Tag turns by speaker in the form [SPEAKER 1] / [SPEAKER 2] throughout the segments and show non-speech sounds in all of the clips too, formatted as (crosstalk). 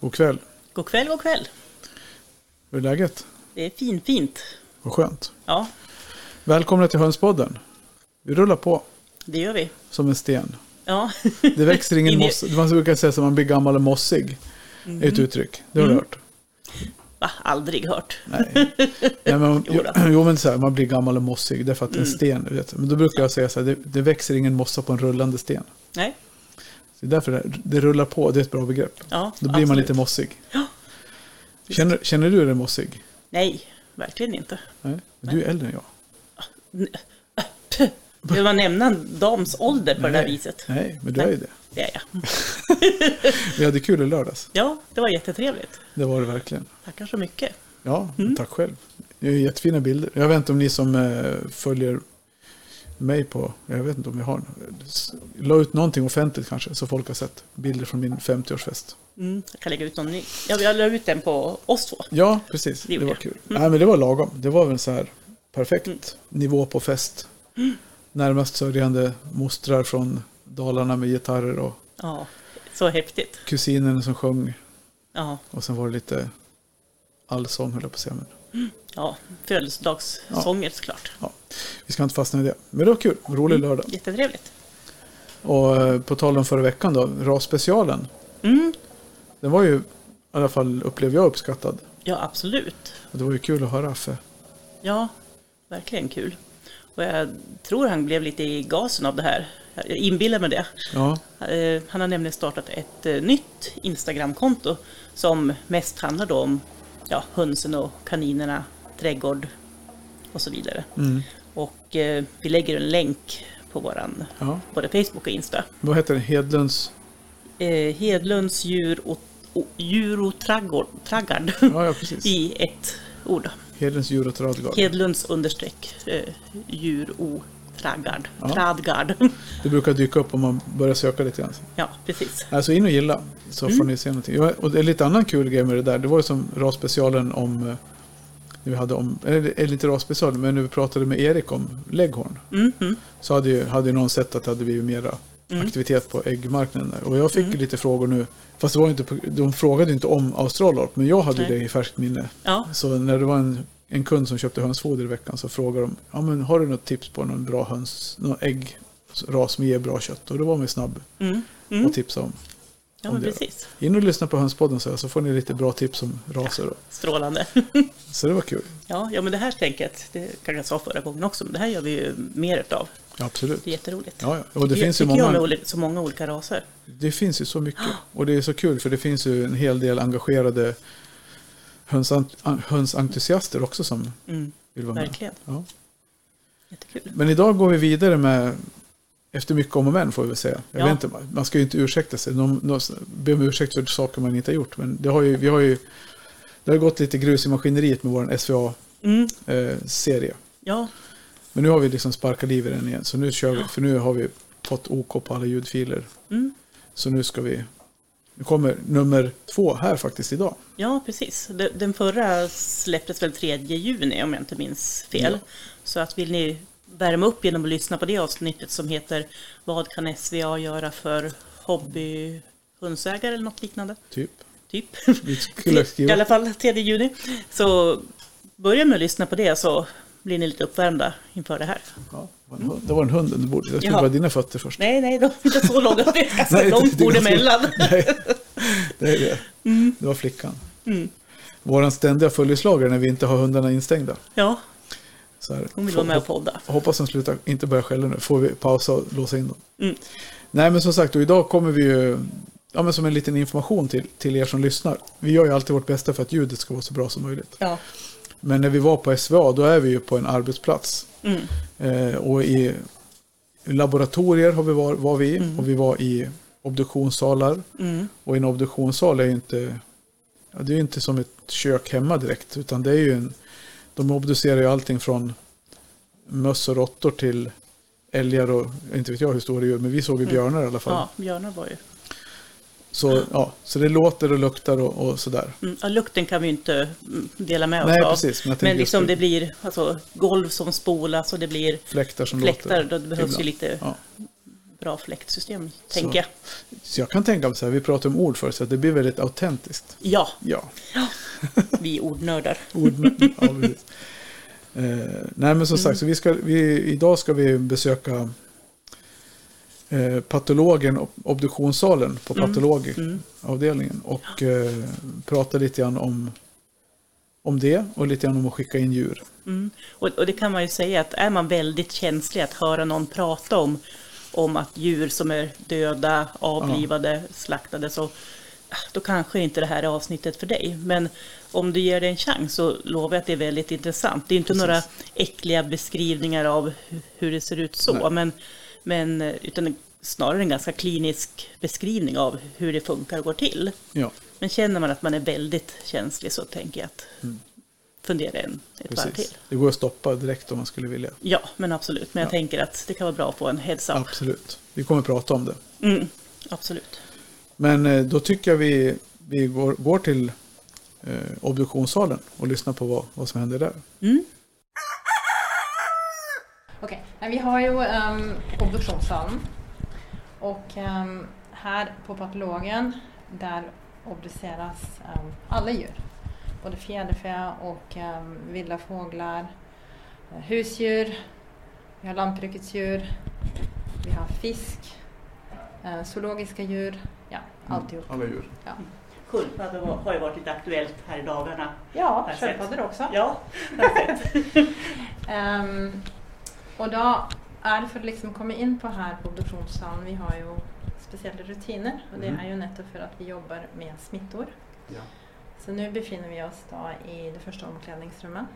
[SPEAKER 1] God kväll.
[SPEAKER 2] God kväll, god kväll.
[SPEAKER 1] Hur är läget?
[SPEAKER 2] Det är fin, fint.
[SPEAKER 1] Vad skönt.
[SPEAKER 2] Ja,
[SPEAKER 1] Välkomna till Hönspodden. Vi rullar på
[SPEAKER 2] det gör vi.
[SPEAKER 1] som en sten.
[SPEAKER 2] Ja,
[SPEAKER 1] Det växer ingen
[SPEAKER 2] In i-
[SPEAKER 1] mossa. Man brukar säga att man blir gammal och mossig.
[SPEAKER 2] Mm.
[SPEAKER 1] Det är ett uttryck. Det har du hört?
[SPEAKER 2] (laughs) Va? aldrig hört.
[SPEAKER 1] Nej. Nej men,
[SPEAKER 2] (laughs) Jo
[SPEAKER 1] jo,
[SPEAKER 2] då. Mm.
[SPEAKER 1] jo, men så här, man blir gammal och mossig. Det är för att en sten, du vet. Men då brukar jag säga så här, det, det växer ingen mossa på en rullande sten.
[SPEAKER 2] Nej,
[SPEAKER 1] Så Det är därför det, det rullar på, det är ett bra begrepp.
[SPEAKER 2] ja,
[SPEAKER 1] Då blir man
[SPEAKER 2] absolut.
[SPEAKER 1] lite mossig.
[SPEAKER 2] Ja.
[SPEAKER 1] Känner, känner du dig mossig?
[SPEAKER 2] Nej, verkligen inte.
[SPEAKER 1] Nej. Du är äldre än jag.
[SPEAKER 2] Behöver man nämna en dams ålder på det där
[SPEAKER 1] Nej.
[SPEAKER 2] viset?
[SPEAKER 1] Nej, men du är
[SPEAKER 2] Nej.
[SPEAKER 1] ju det.
[SPEAKER 2] Det är jag.
[SPEAKER 1] Vi hade kul i lördags.
[SPEAKER 2] Ja, det var jättetrevligt.
[SPEAKER 1] Det var det verkligen.
[SPEAKER 2] Tackar så mycket.
[SPEAKER 1] Ja,
[SPEAKER 2] Mm.
[SPEAKER 1] tack själv. Det är jättefina bilder. Jag vet inte om ni som eh, följer mig på, jag vet inte om jag har, la ut någonting offentligt kanske så folk har sett bilder från min 50-årsfest.
[SPEAKER 2] Mm, jag kan lägga ut någon ny. Ja, jag la ut den på oss två.
[SPEAKER 1] Ja, precis.
[SPEAKER 2] Det
[SPEAKER 1] Det,
[SPEAKER 2] gjorde
[SPEAKER 1] var
[SPEAKER 2] jag. Mm.
[SPEAKER 1] kul. Nej, men det var lagom. Det var väl så här perfekt nivå på fest.
[SPEAKER 2] Mm.
[SPEAKER 1] Närmast sörjande mostrar från Dalarna med gitarrer och
[SPEAKER 2] Ja, så häftigt.
[SPEAKER 1] kusinen som sjöng.
[SPEAKER 2] Ja,
[SPEAKER 1] Och sen var det lite allsång höll jag på att säga. Men,
[SPEAKER 2] ja födelsedagssånger såklart.
[SPEAKER 1] ja. Vi ska inte fastna i det. Men det var kul. Rolig
[SPEAKER 2] Mm.
[SPEAKER 1] lördag.
[SPEAKER 2] Jättetrevligt.
[SPEAKER 1] Och eh, på tal om förra veckan då, RAS-specialen.
[SPEAKER 2] Mm,
[SPEAKER 1] Den var ju, i alla fall upplevde jag, uppskattad.
[SPEAKER 2] ja, absolut.
[SPEAKER 1] Och det var ju kul att höra Affe.
[SPEAKER 2] Ja, verkligen kul. Och jag tror han blev lite i gasen av det här. Jag inbillar mig det.
[SPEAKER 1] Ja,
[SPEAKER 2] Eh, Han har nämligen startat ett eh, nytt Instagramkonto som mest handlar då om ja, hönsen och kaninerna, trädgård och så vidare.
[SPEAKER 1] mm,
[SPEAKER 2] Och eh, vi lägger en länk på våran,
[SPEAKER 1] ja.
[SPEAKER 2] både Facebook och Insta.
[SPEAKER 1] Vad heter den? Hedlunds?
[SPEAKER 2] Eh, Hedlunds djur och, och, djur och traggård, traggard
[SPEAKER 1] Ja, ja precis.
[SPEAKER 2] (laughs) i ett ord.
[SPEAKER 1] Hedlunds djur och trädgård.
[SPEAKER 2] Hedlunds understreck eh, djur och traggard.
[SPEAKER 1] Ja.
[SPEAKER 2] Tradgard.
[SPEAKER 1] Det brukar dyka upp om man börjar söka lite grann.
[SPEAKER 2] (laughs) ja, precis.
[SPEAKER 1] Alltså in och gilla så får ni se någonting. Ja, Och det är lite annan kul grej med det där. Det var ju som RAS-specialen om... eh, när Vi hade om, eller, eller inte RAS-specialen, men när vi pratade med Erik om Leghorn.
[SPEAKER 2] Mhm.
[SPEAKER 1] så hade ju, hade ju någon sett att det hade blivit mera
[SPEAKER 2] Mm.
[SPEAKER 1] aktivitet på äggmarknaden. Där. Och jag fick ju lite frågor nu, fast det var ju inte, på- de frågade ju inte om Australorp, men jag hade ju
[SPEAKER 2] Nej.
[SPEAKER 1] det i färskt minne.
[SPEAKER 2] Ja,
[SPEAKER 1] Så när det var en, en kund som köpte hönsfoder i veckan så frågade de, ja men har du något tips på någon bra höns, någon äggras som ger bra kött? Och då var man ju snabb
[SPEAKER 2] mm.
[SPEAKER 1] och tipsa om.
[SPEAKER 2] ja
[SPEAKER 1] Om
[SPEAKER 2] men
[SPEAKER 1] det.
[SPEAKER 2] precis.
[SPEAKER 1] In och lyssna på hönspodden så, så får ni lite bra tips om raser. då.
[SPEAKER 2] Strålande. (laughs)
[SPEAKER 1] Så det var kul.
[SPEAKER 2] Ja, ja, men det här tänket, det kanske jag sa förra gången också, men det här gör vi ju mer utav.
[SPEAKER 1] Ja, absolut.
[SPEAKER 2] Det är jätteroligt.
[SPEAKER 1] Ja, ja. Och det, finns ju
[SPEAKER 2] tycker jag med
[SPEAKER 1] många,
[SPEAKER 2] oli- så många olika raser.
[SPEAKER 1] det finns ju så mycket. Och det är så kul för det finns ju en hel del engagerade hönsan- an- hönsentusiaster också som
[SPEAKER 2] Mm,
[SPEAKER 1] vill vara med.
[SPEAKER 2] verkligen,
[SPEAKER 1] Ja.
[SPEAKER 2] jättekul.
[SPEAKER 1] Men idag går vi vidare med, efter mycket om och men får vi väl säga. Jag
[SPEAKER 2] Ja.
[SPEAKER 1] vet inte, man ska ju inte ursäkta sig. Någon, någon, be om ursäkt för saker man inte har gjort. Men det har ju, vi har ju, det har gått lite grus i maskineriet med vår
[SPEAKER 2] Mm,
[SPEAKER 1] eh, SVA-serie.
[SPEAKER 2] ja,
[SPEAKER 1] Men nu har vi liksom sparkat liv i den igen. Så nu kör vi, för nu har vi fått OK på alla ljudfiler.
[SPEAKER 2] mm,
[SPEAKER 1] Så nu ska vi... Nu kommer nummer två här faktiskt idag.
[SPEAKER 2] ja, precis. De- Den förra släpptes väl 3 juni om jag inte minns fel.
[SPEAKER 1] Ja.
[SPEAKER 2] Så att vill ni värma upp genom att lyssna på det avsnittet som heter Vad kan SVA göra för hobbyhundsägare eller något liknande?
[SPEAKER 1] Typ.
[SPEAKER 2] Typ.
[SPEAKER 1] Vi skulle
[SPEAKER 2] (laughs) I
[SPEAKER 1] skriva...
[SPEAKER 2] alla fall 3 juni. Så börja med att lyssna på det så blir ni lite uppvärmda inför det här.
[SPEAKER 1] Ja, det var en hund- det var en hund under bordet. Jag trodde
[SPEAKER 2] Ja.
[SPEAKER 1] det var dina fötter först.
[SPEAKER 2] Nej, alltså, nej, de är (laughs) inte så långa. Det är ganska
[SPEAKER 1] Nej, det-
[SPEAKER 2] långt
[SPEAKER 1] det-
[SPEAKER 2] bord
[SPEAKER 1] det-
[SPEAKER 2] emellan.
[SPEAKER 1] (laughs) Nej, det är det.
[SPEAKER 2] Mm.
[SPEAKER 1] Det var flickan. Vår ständiga följeslagare när vi inte har hundarna instängda.
[SPEAKER 2] Ja,
[SPEAKER 1] Så här.
[SPEAKER 2] hon vill vara med och podda.
[SPEAKER 1] Hoppas de slutar, inte börjar skälla nu. Får vi pausa och låsa in dem.
[SPEAKER 2] Mm.
[SPEAKER 1] Nej men som sagt, och idag kommer vi ju, ja men som en liten information till, till er som lyssnar. Vi gör ju alltid vårt bästa för att ljudet ska vara så bra som möjligt.
[SPEAKER 2] Ja,
[SPEAKER 1] Men när vi var på SVA, då är vi ju på en arbetsplats.
[SPEAKER 2] mm.
[SPEAKER 1] Eh, och i laboratorier har vi var, var vi och vi var i obduktionssalar.
[SPEAKER 2] Mm.
[SPEAKER 1] Och en obduktionssal är ju inte, ja, det är ju inte som ett kök hemma direkt. Utan det är ju en, de obducerar ju allting från möss och råttor till älgar och inte vet jag hur stora djur. Men vi såg ju björnar i alla fall.
[SPEAKER 2] ja björnar var ju...
[SPEAKER 1] Så, ja, så det låter och luktar och, och sådär.
[SPEAKER 2] Mm. Ja, lukten kan vi ju inte mm, dela med oss
[SPEAKER 1] Nej,
[SPEAKER 2] av.
[SPEAKER 1] precis, men jag
[SPEAKER 2] Men,
[SPEAKER 1] tänker just
[SPEAKER 2] liksom
[SPEAKER 1] det.
[SPEAKER 2] det blir alltså, golv som spolas och det blir
[SPEAKER 1] Fläktar som
[SPEAKER 2] fläktar.
[SPEAKER 1] låter.
[SPEAKER 2] Då behövs ju
[SPEAKER 1] ibland.
[SPEAKER 2] lite
[SPEAKER 1] Ja.
[SPEAKER 2] bra fläktsystem, tänker jag.
[SPEAKER 1] Så jag kan tänka mig så här, vi pratade om ord förut, så att det blir väldigt autentiskt.
[SPEAKER 2] Ja,
[SPEAKER 1] Ja,
[SPEAKER 2] vi är ordnördar.
[SPEAKER 1] ord.
[SPEAKER 2] (laughs)
[SPEAKER 1] ja, precis. Eh, nej men som sagt, så vi ska, vi, idag ska vi besöka eh, patologen och obduktionssalen på
[SPEAKER 2] Mm,
[SPEAKER 1] patologavdelningen och eh, prata lite grann om, om det och lite grann om att skicka in djur.
[SPEAKER 2] Mm. Och, och det kan man ju säga att är man väldigt känslig att höra någon prata om, om att djur som är döda, avlivade, slaktade, så ah, då kanske inte det här är avsnittet för dig. Men om du ger det en chans så lovar jag att det är väldigt intressant. Det är inte
[SPEAKER 1] Precis.
[SPEAKER 2] några äckliga beskrivningar av hu- hur det ser ut så,
[SPEAKER 1] Nej.
[SPEAKER 2] men, men eh, utan snarare en ganska klinisk beskrivning av hur det funkar och går till.
[SPEAKER 1] Ja,
[SPEAKER 2] Men känner man att man är väldigt känslig så tänker jag att fundera en, ett varv till.
[SPEAKER 1] Mm. precis. Det går att stoppa direkt om man skulle vilja.
[SPEAKER 2] Ja, men absolut. Men jag
[SPEAKER 1] Ja.
[SPEAKER 2] tänker att det kan vara bra att få en heads up.
[SPEAKER 1] Absolut. Vi kommer att prata om det.
[SPEAKER 2] Mm, absolut.
[SPEAKER 1] Men eh, då tycker jag vi, vi går, går till eh, obduktionssalen och lyssnar på vad, vad som händer där.
[SPEAKER 2] Mm.
[SPEAKER 3] Okej, men vi har ju um, obduktionssalen. Och ehm, här på patologen där obduceras ehm, alla djur. Både fjäderfä och ehm, vilda fåglar, eh, husdjur, vi har lantbrukets djur, vi har fisk, eh, zoologiska djur, ja alltihop.
[SPEAKER 1] Alla djur.
[SPEAKER 2] Sköldpaddor har ju varit lite aktuellt här i dagarna.
[SPEAKER 3] Ja,
[SPEAKER 2] Perfekt.
[SPEAKER 3] sköldpaddor också.
[SPEAKER 2] Ja,
[SPEAKER 3] Ehm, och då är det för att liksom komma in på här på obduktionssalen, vi har ju speciella rutiner och det
[SPEAKER 1] Mhm.
[SPEAKER 3] är ju nettopp för att vi jobbar med smittor.
[SPEAKER 1] Ja.
[SPEAKER 3] Så nu befinner vi oss då i det första omklädningsrummet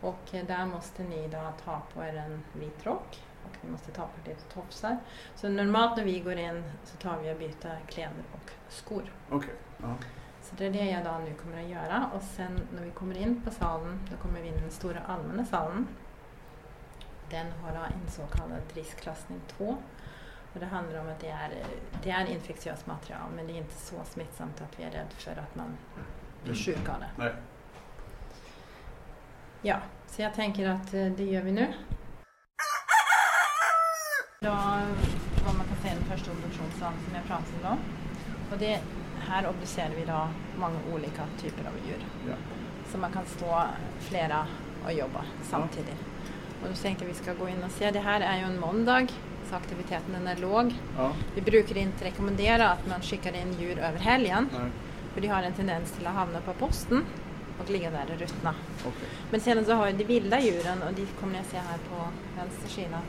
[SPEAKER 3] och eh, där måste ni då ta på er en vit rock och ni måste ta på er lite tofsar. Så normalt när vi går in så tar vi och byter kläder och skor.
[SPEAKER 1] Okej. Ja.
[SPEAKER 3] Så det är det jag då nu kommer att göra och sen när vi kommer in på salen, då kommer vi in i den stora allmänna salen. Den har då en så kallad riskklassning 2. Och det handlar om att det är, det är infektiöst material men det är inte så smittsamt att vi är rädda för att man blir
[SPEAKER 1] Mm.
[SPEAKER 3] sjuk av det.
[SPEAKER 1] Nej.
[SPEAKER 3] Ja, så jag tänker att eh, det gör vi nu. Då, vad man kan säga, den första obduktionssalen som jag pratade om. Och det, här obducerar vi då många olika typer av djur.
[SPEAKER 1] Ja.
[SPEAKER 3] Så man kan stå flera och jobba samtidigt. Och då tänkte jag vi ska gå in och se. Det här är ju en måndag, så aktiviteten den är låg.
[SPEAKER 1] Ja.
[SPEAKER 3] Vi brukar inte rekommendera att man skickar in djur över helgen,
[SPEAKER 1] Nej.
[SPEAKER 3] för de har en tendens till att hamna på posten och ligga där och ruttna.
[SPEAKER 1] Okej.
[SPEAKER 3] Men sedan så har ju de vilda djuren, och de kommer jag se här på vänster sida,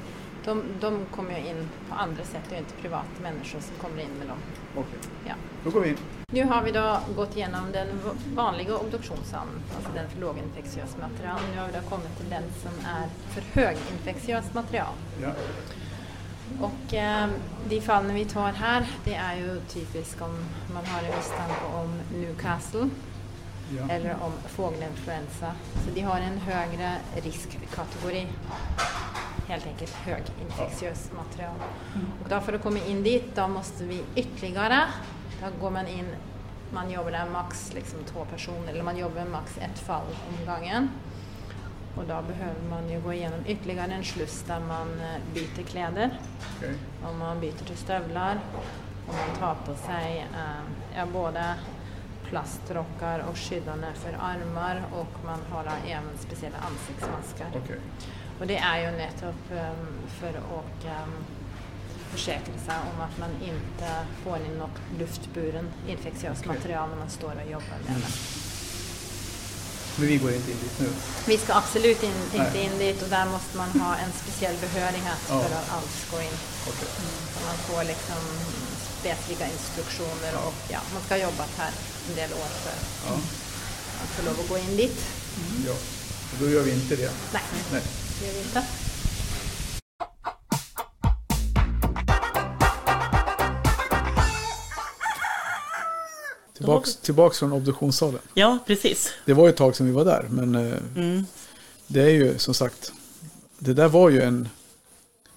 [SPEAKER 3] de, de kommer ju in på andra sätt. Det är ju inte privata människor som kommer in med dem.
[SPEAKER 1] Okej.
[SPEAKER 3] Ja.
[SPEAKER 1] Då går vi in.
[SPEAKER 3] Nu har vi då gått igenom den v- vanliga obduktionsanden, alltså den för låginfektiöst material. Nu har vi då kommit till den som är för höginfektiöst material.
[SPEAKER 1] Ja.
[SPEAKER 3] Och eh, de fallen vi tar här, det är ju typiskt om man har en misstanke om Newcastle
[SPEAKER 1] Ja.
[SPEAKER 3] eller om fågelinfluensa. Så de har en högre riskkategori. Helt enkelt höginfektiöst material. Och då för att komma in dit, då måste vi ytterligare, då går man in, man jobbar där max liksom två personer, eller man jobbar max ett fall om gången. Och då behöver man ju gå igenom ytterligare en sluss där man eh, byter kläder
[SPEAKER 1] Okej.
[SPEAKER 3] om man byter till stövlar, om man tar på sig eh, ja, både plastrockar och skyddande för armar och man har då även speciella ansiktsmasker.
[SPEAKER 1] Okej.
[SPEAKER 3] Och det är ju nettopp eh, för att um, försäkra sig om att man inte får in något luftburen infektiöst
[SPEAKER 1] Okej. Mm.
[SPEAKER 3] material när man står och jobbar med det.
[SPEAKER 1] Men vi går inte in dit nu.
[SPEAKER 3] Vi ska absolut in, inte
[SPEAKER 1] Nej.
[SPEAKER 3] in dit och där måste man ha en speciell behörighet
[SPEAKER 1] Ja.
[SPEAKER 3] för att alls gå in.
[SPEAKER 1] Okej.
[SPEAKER 3] Så man får liksom specifika instruktioner och ja, man ska ha jobbat här en del år för
[SPEAKER 1] Ja.
[SPEAKER 3] att få lov att gå in dit.
[SPEAKER 1] ja. Då gör vi inte det.
[SPEAKER 3] Nej,
[SPEAKER 1] Nej.
[SPEAKER 3] det gör vi inte.
[SPEAKER 1] Tillbaks, tillbaks från obduktionssalen.
[SPEAKER 2] ja precis.
[SPEAKER 1] Det var ju ett tag sedan vi var där, men eh,
[SPEAKER 2] Mm.
[SPEAKER 1] det är ju som sagt, det där var ju en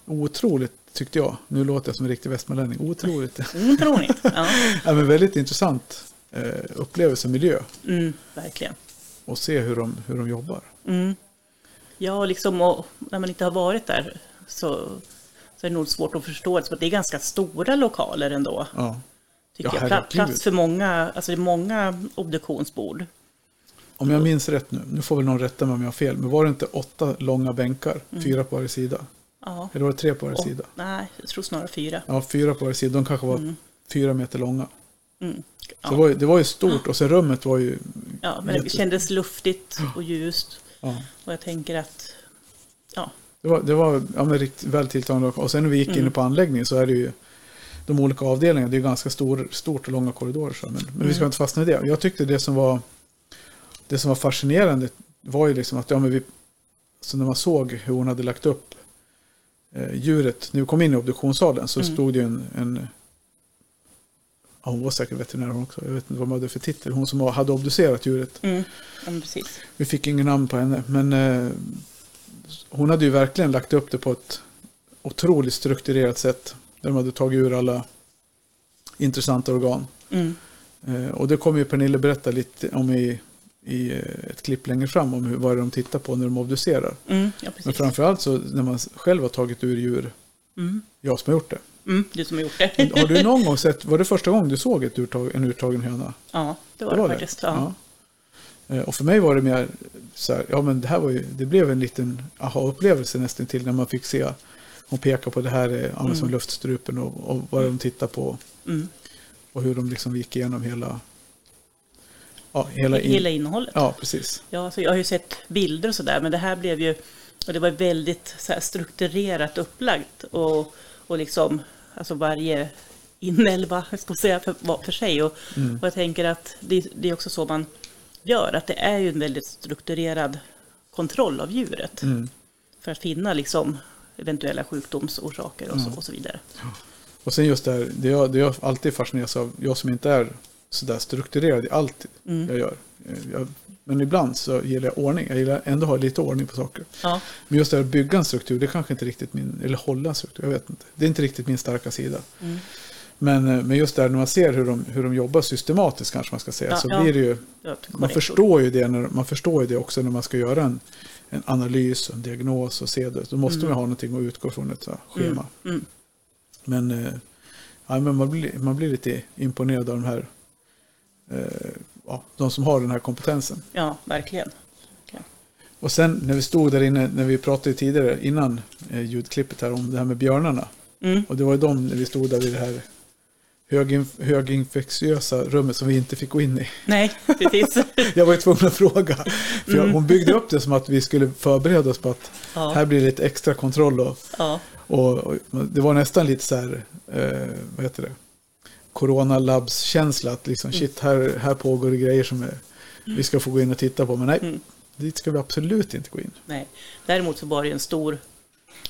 [SPEAKER 1] otroligt, tyckte jag, nu låter jag som en riktig västmanlänning,
[SPEAKER 2] (laughs)
[SPEAKER 1] otroligt,
[SPEAKER 2] Mm, Otroligt. Ja.
[SPEAKER 1] ja, men väldigt intressant eh, upplevelse, miljö
[SPEAKER 2] Mm, verkligen.
[SPEAKER 1] och se hur de, hur de jobbar.
[SPEAKER 2] Mm. Ja, liksom och när man inte har varit där så, så är det nog svårt att förstå, eftersom det är ganska stora lokaler ändå.
[SPEAKER 1] Ja.
[SPEAKER 2] Tycker
[SPEAKER 1] Ja,
[SPEAKER 2] jag. Pla-
[SPEAKER 1] herregud.
[SPEAKER 2] Plats för många, alltså det är många obduktionsbord.
[SPEAKER 1] Om jag minns rätt nu, nu får väl någon rätta mig om jag har fel, men var det inte åtta långa bänkar?
[SPEAKER 2] Mm.
[SPEAKER 1] Fyra på varje sida?
[SPEAKER 2] Ja.
[SPEAKER 1] Eller var det tre på varje
[SPEAKER 2] Och,
[SPEAKER 1] sida?
[SPEAKER 2] nej, jag tror snarare fyra.
[SPEAKER 1] Ja, fyra på varje sida. De kanske var fyra meter långa.
[SPEAKER 2] Mm.
[SPEAKER 1] Så
[SPEAKER 2] Ja.
[SPEAKER 1] det, var ju, det var ju stort och sen rummet var ju...
[SPEAKER 2] Ja, men
[SPEAKER 1] jätte-
[SPEAKER 2] det kändes luftigt och ljust.
[SPEAKER 1] Ja,
[SPEAKER 2] Och jag tänker att, ja,
[SPEAKER 1] det var, det var ja, men riktigt väl tilltalande. Och sen när vi gick in på anläggningen så är det ju de olika avdelningarna. Det är ju ganska stor, stort och långa korridorer. Så, men, men vi ska inte fastna i det. Jag tyckte det som var, det som var fascinerande var ju liksom att ja, men vi, så när man såg hur hon hade lagt upp eh, djuret. När vi kom in i obduktionssalen så stod det ju en, en ja, hon var säkert veterinär hon också. Jag vet inte vad man hade för titel. Hon som hade obducerat djuret.
[SPEAKER 2] mm, ja, men precis.
[SPEAKER 1] Vi fick ingen namn på henne, men eh, hon hade ju verkligen lagt upp det på ett otroligt strukturerat sätt. Där de hade tagit ur alla intressanta organ.
[SPEAKER 2] Mm,
[SPEAKER 1] Eh, och det kommer ju Pernille berätta lite om i, i eh, ett klipp längre fram, om hur, vad det är de tittar på när de obducerar.
[SPEAKER 2] mm, ja,
[SPEAKER 1] Men
[SPEAKER 2] precis.
[SPEAKER 1] framförallt så när man själv har tagit ur djur,
[SPEAKER 2] Mm,
[SPEAKER 1] jag som har gjort det.
[SPEAKER 2] mm, du som har gjort det.
[SPEAKER 1] Har du någon gång sett, var det första gången du såg ett urtag, en urtagen höna?
[SPEAKER 2] (laughs) Ja, det var det, faktiskt. Ja.
[SPEAKER 1] Ja. Eh, Och för mig var det mer så här, ja men det här var ju, det blev en liten aha-upplevelse nästan till när man fick se, hon pekar på det här är, ja, men som luftstrupen och, och vad de tittar på
[SPEAKER 2] Mm.
[SPEAKER 1] och hur de liksom gick igenom hela, ja hela, in,
[SPEAKER 2] Hela innehållet.
[SPEAKER 1] ja precis,
[SPEAKER 2] Ja, så jag har ju sett bilder och sådär, men det här blev ju, och det var väldigt så här, strukturerat upplagt och, och liksom, alltså varje inälva, (laughs) jag ska man säga, för, var för sig. Och,
[SPEAKER 1] Mm.
[SPEAKER 2] och jag tänker att det, det är också så man gör, att det är ju en väldigt strukturerad kontroll av djuret
[SPEAKER 1] Mm.
[SPEAKER 2] för att finna liksom eventuella sjukdomsorsaker och så,
[SPEAKER 1] Mm.
[SPEAKER 2] och så vidare.
[SPEAKER 1] och sen just det här, det jag, det jag alltid fascineras av, jag som inte är sådär strukturerad i allt
[SPEAKER 2] Mm.
[SPEAKER 1] jag gör, Eh, jag, men ibland så gillar jag ordning, jag gillar ändå att ha lite ordning på saker.
[SPEAKER 2] Ja,
[SPEAKER 1] Men just det här att bygga en struktur, det är kanske inte riktigt min, eller hålla en struktur, jag vet inte. Det är inte riktigt min starka sida.
[SPEAKER 2] Mm.
[SPEAKER 1] Men, eh, men just där när man ser hur de, hur de jobbar systematiskt kanske man ska säga,
[SPEAKER 2] Ja,
[SPEAKER 1] så
[SPEAKER 2] ja.
[SPEAKER 1] blir det ju,
[SPEAKER 2] det var ett
[SPEAKER 1] man
[SPEAKER 2] korrekt ord.
[SPEAKER 1] förstår ju det, när, man förstår ju det också när man ska göra en, en analys, och en diagnos och se det. Då måste man ha någonting att utgå från, ett så här schema.
[SPEAKER 2] Mm.
[SPEAKER 1] Men, eh, ja, men man, blir, man blir lite imponerad av de här, eh, ja, de som har den här kompetensen.
[SPEAKER 2] Ja, verkligen.
[SPEAKER 1] Och sen när vi stod där inne, när vi pratade tidigare innan eh, ljudklippet här om det här med björnarna.
[SPEAKER 2] Mm.
[SPEAKER 1] Och det var ju de när vi stod där vid det här högin- höginfektiösa rummet som vi inte fick gå in i. (laughs)
[SPEAKER 2] Nej, precis.
[SPEAKER 1] Jag var ju tvungen att fråga. För jag, hon byggde upp det som att vi skulle förbereda oss på att
[SPEAKER 2] Ja.
[SPEAKER 1] här blir det lite extra kontroll. Och,
[SPEAKER 2] (laughs) ja.
[SPEAKER 1] och, och det var nästan lite så här, eh, vad heter det, coronalabs-känsla. Att liksom shit, här, här pågår det grejer som är, vi ska få gå in och titta på. Men nej, dit ska vi absolut inte gå in.
[SPEAKER 2] Nej. Däremot så var det ju en stor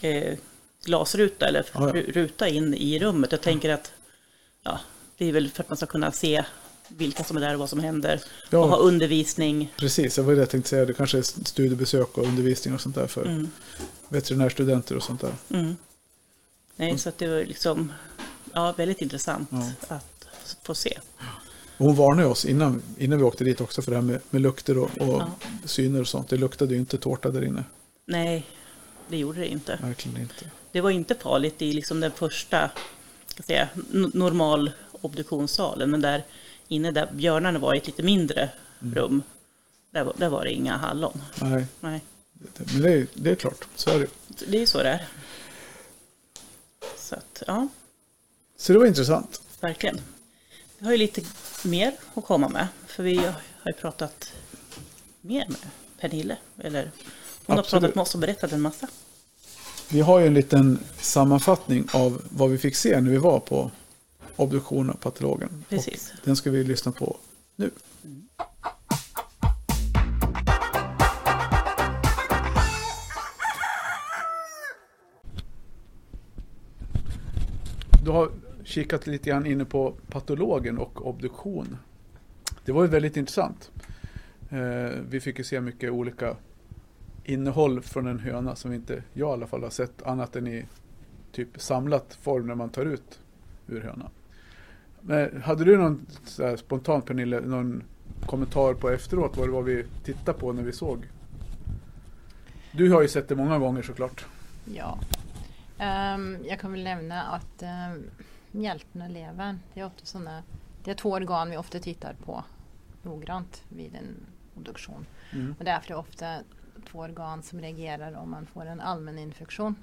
[SPEAKER 2] eh, glasruta eller
[SPEAKER 1] Ja, ja.
[SPEAKER 2] ru- ruta in i rummet. Jag tänker att ja, det är väl för att man ska kunna se vilka som är där och vad som händer.
[SPEAKER 1] Ja.
[SPEAKER 2] Och ha undervisning.
[SPEAKER 1] Precis, det var det jag tänkte säga. Det kanske är studiebesök och undervisning och sånt där för veterinärstudenter och sånt där.
[SPEAKER 2] Mm. Nej, så att det var ju liksom ja, väldigt intressant
[SPEAKER 1] Mm. Ja.
[SPEAKER 2] att få se.
[SPEAKER 1] Och hon varnade oss innan, innan vi åkte dit också för det här med, med lukter och, och
[SPEAKER 2] Ja.
[SPEAKER 1] syner och sånt. Det luktade ju inte tårta där inne.
[SPEAKER 2] Nej, det gjorde det inte.
[SPEAKER 1] Verkligen inte.
[SPEAKER 2] Det var inte farligt i liksom den första ska jag säga, n- normal obduktionssalen, men där inne där björnarna var i ett lite mindre rum, där, var- där var det inga hallon.
[SPEAKER 1] Nej,
[SPEAKER 2] Nej.
[SPEAKER 1] det- men det är, det är klart. Så är det.
[SPEAKER 2] Det är ju så det är. Så att, ja,
[SPEAKER 1] Så det var intressant.
[SPEAKER 2] verkligen. Vi har ju lite mer att komma med, för vi har ju pratat mer med Pernille. Eller hon har
[SPEAKER 1] Absolut.
[SPEAKER 2] pratat med oss och berättat en massa.
[SPEAKER 1] Vi har ju en liten sammanfattning av vad vi fick se när vi var på obduktion av patologen.
[SPEAKER 2] Precis.
[SPEAKER 1] Och den ska vi lyssna på nu. Du har kikat lite grann inne på patologen och obduktion. Det var ju väldigt intressant. Eh, Vi fick ju se mycket olika innehåll från en höna som inte jag i alla fall har sett annat än i typ samlat form när man tar ut ur hönan. Men hade du någon så här, spontan Pernille, någon kommentar på efteråt vad det var vi tittade på när vi såg? Du har ju sett det många gånger såklart.
[SPEAKER 3] Ja. Ehm, jag kan väl nämna att um, mjälten och levern, det är, ofta såna, det är två organ vi ofta tittar på noggrant vid en obduktion.
[SPEAKER 1] Mm.
[SPEAKER 3] Och därför är det ofta två organ som reagerar om man får en allmän infektion.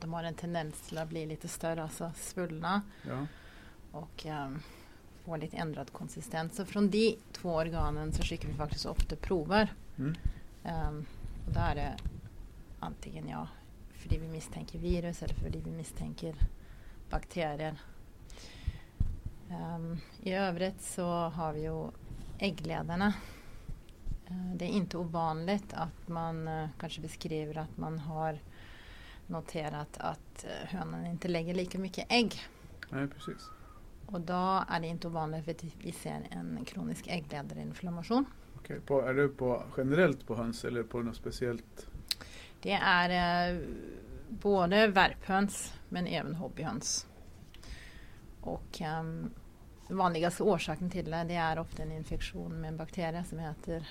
[SPEAKER 3] De har en tendens till att bli lite större, alltså svullna
[SPEAKER 1] Ja.
[SPEAKER 3] och um, få lite ändrad konsistens. Så från de två organen så skickar vi faktiskt ofta prover.
[SPEAKER 1] Mm.
[SPEAKER 3] Ehm, och då är det antingen ja, för det vi misstänker virus eller för det vi misstänker bakterier. Ehm, I övrigt så har vi ju äggledarna. Eh, det är inte ovanligt att man eh, kanske beskriver att man har noterat att eh, hönan inte lägger lika mycket ägg.
[SPEAKER 1] Nej, precis.
[SPEAKER 3] Och då är det inte ovanligt för att vi ser en kronisk äggledarinflammation.
[SPEAKER 1] Okej. På, är det på, generellt på höns eller på något speciellt?
[SPEAKER 3] Det är eh, både värphöns men även hobbyhöns. Och ehm, den vanligaste orsaken till det, det är ofta en infektion med en bakterie som heter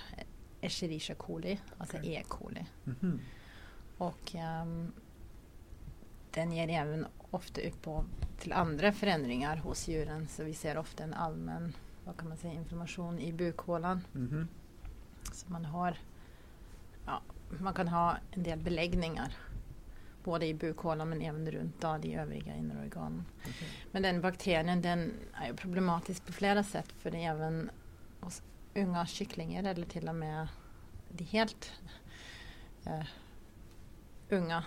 [SPEAKER 3] Escherichia coli, alltså
[SPEAKER 1] Okej.
[SPEAKER 3] E. coli.
[SPEAKER 1] Mhm.
[SPEAKER 3] Och ehm, den ger även ofta upphov till andra förändringar hos djuren så vi ser ofta en allmän vad kan man säga, inflammation i bukhålan.
[SPEAKER 1] Mhm.
[SPEAKER 3] Så man har, ja, man kan ha en del beläggningar. Både i bukhålan men även runt då, de övriga inre organen.
[SPEAKER 1] Okej.
[SPEAKER 3] Men den bakterien den är ju problematisk på flera sätt för det är även hos unga kycklingar eller till och med de helt eh, unga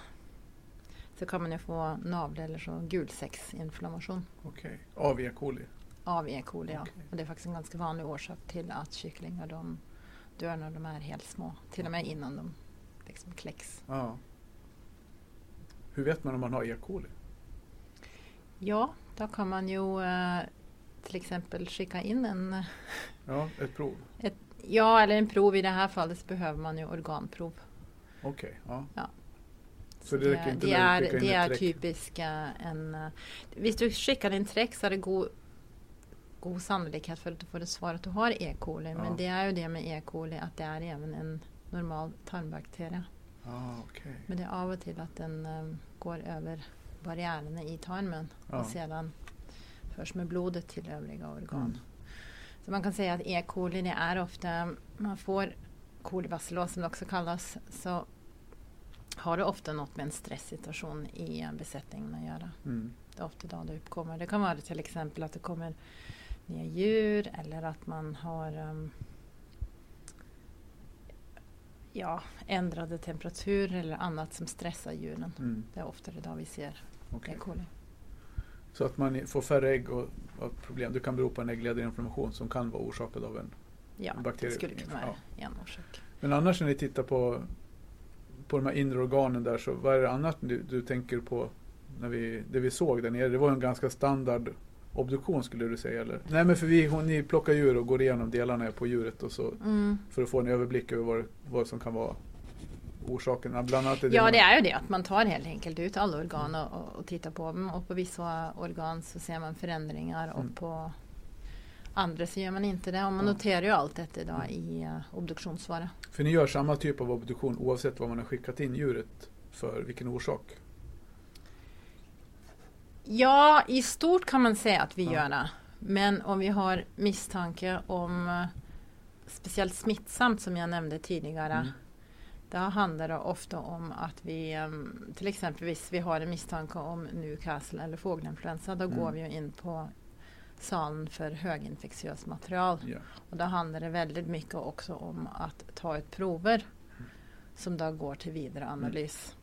[SPEAKER 3] så kan man ju få navel eller så gulsäcksinflammation
[SPEAKER 1] Okej. Av E. coli?
[SPEAKER 3] av E. coli. Ja.
[SPEAKER 1] Okej.
[SPEAKER 3] Och det är faktiskt en ganska vanlig orsak till att kycklingar de dör när de är helt små. Till och med innan de liksom kläcks.
[SPEAKER 1] Ja. Hur vet man om man har E. coli?
[SPEAKER 3] Ja, då kan man ju eh, till exempel skicka in en eh,
[SPEAKER 1] Ja, ett prov.
[SPEAKER 3] Ja, eller en prov. I det här fallet så behöver man ju organprov.
[SPEAKER 1] Okej. Ja.
[SPEAKER 3] Ja.
[SPEAKER 1] Så det räcker inte
[SPEAKER 3] det
[SPEAKER 1] med
[SPEAKER 3] är,
[SPEAKER 1] att skicka in
[SPEAKER 3] det
[SPEAKER 1] ett
[SPEAKER 3] är
[SPEAKER 1] streck?
[SPEAKER 3] typiska en... eh, Visst du skickar en träck så är det god, god sannolikhet för att du får ett svar att du har E. coli.
[SPEAKER 1] Ja.
[SPEAKER 3] Men det är ju det med E. coli att det är även en normal tarmbakterie.
[SPEAKER 1] Ah, okej.
[SPEAKER 3] Men det är av och till att den eh, går över barriärerna i tarmen
[SPEAKER 1] Ja.
[SPEAKER 3] och sedan förs med blodet till övriga organ.
[SPEAKER 1] Mm.
[SPEAKER 3] Så man kan säga att E. coli det är ofta, man får kolibacillus som det också kallas, så har det ofta något med en stresssituation i eh, besättningen att göra.
[SPEAKER 1] Mm.
[SPEAKER 3] Det är ofta då det uppkommer. Det kan vara till exempel att det kommer nya djur eller att man har ehm, ja, ändrade temperaturer eller annat som stressar djuren.
[SPEAKER 1] Mm.
[SPEAKER 3] Det är oftare då vi ser
[SPEAKER 1] okej.
[SPEAKER 3] E. coli.
[SPEAKER 1] Så att man får färre ägg och, och problem. Det kan bero på en äggledarinflammation som kan vara orsakad av en.
[SPEAKER 3] Ja, det
[SPEAKER 1] Bakterier-
[SPEAKER 3] skulle kunna vara en orsak.
[SPEAKER 1] Men annars när ni tittar på, på de här inre organen där, så vad är det annat du, du tänker på? När vi, det vi såg där nere, det var en ganska standard obduktion skulle du säga eller? Nej men för vi, hon- ni plockar djur och går igenom delarna på djuret och så
[SPEAKER 3] Mm.
[SPEAKER 1] för att få en överblick över vad, vad som kan vara orsakerna. Bland annat
[SPEAKER 3] Ja,
[SPEAKER 1] med-
[SPEAKER 3] det är ju det att man Mm. tar helt enkelt ut alla organ och, och- och tittar på dem. Och på vissa organ så ser man förändringar
[SPEAKER 1] Mm.
[SPEAKER 3] och på andra så gör man inte det. Och man
[SPEAKER 1] Ja.
[SPEAKER 3] noterar ju allt detta då i eh, obduktionssvaret.
[SPEAKER 1] För ni gör samma typ av obduktion oavsett vad man har skickat in djuret för, vilken orsak?
[SPEAKER 3] Ja, i stort kan man säga att vi
[SPEAKER 1] Ja.
[SPEAKER 3] gör det. Men om vi har misstanke om eh, speciellt smittsamt som jag nämnde tidigare.
[SPEAKER 1] Mm.
[SPEAKER 3] Då handlar det ofta om att vi eh, till exempel visst vi har en misstanke om Newcastle eller fågelinfluensa. Då
[SPEAKER 1] Mm.
[SPEAKER 3] går vi ju in på salen för höginfektiöst material.
[SPEAKER 1] Ja.
[SPEAKER 3] Och då handlar det väldigt mycket också om att ta ett prover
[SPEAKER 1] Mm.
[SPEAKER 3] som då går till vidare analys.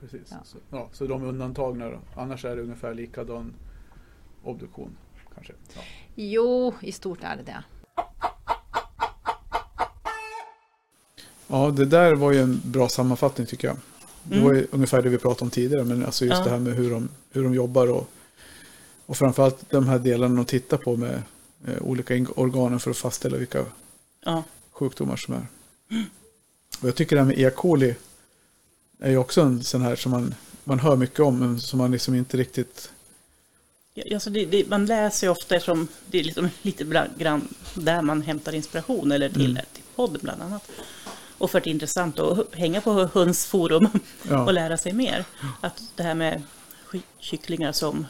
[SPEAKER 1] Precis.
[SPEAKER 3] Ja.
[SPEAKER 1] Så, ja, så de är undantagna då. Annars är det ungefär likadan obduktion kanske. Ja.
[SPEAKER 3] Jo, i stort är det det.
[SPEAKER 1] ja, det där var ju en bra sammanfattning tycker jag. Det
[SPEAKER 2] Mm.
[SPEAKER 1] var ju ungefär det vi pratade om tidigare, men alltså just
[SPEAKER 2] Ja.
[SPEAKER 1] det här med hur de, hur de jobbar och, och framförallt de här delarna de tittar på med eh, olika ing- organen för att fastställa vilka
[SPEAKER 2] Ja,
[SPEAKER 1] sjukdomar som är. Och jag tycker det här med E. coli är ju också en sån här som man, man hör mycket om, men som man liksom inte riktigt...
[SPEAKER 2] Ja, alltså det, det, man läser ju ofta eftersom det är liksom lite bland, grann där man hämtar inspiration eller till,
[SPEAKER 1] Mm.
[SPEAKER 2] till podden bland annat. och för att det är intressant att hänga på höns forum
[SPEAKER 1] Ja.
[SPEAKER 2] och lära sig mer. Att det här med sk- kycklingar som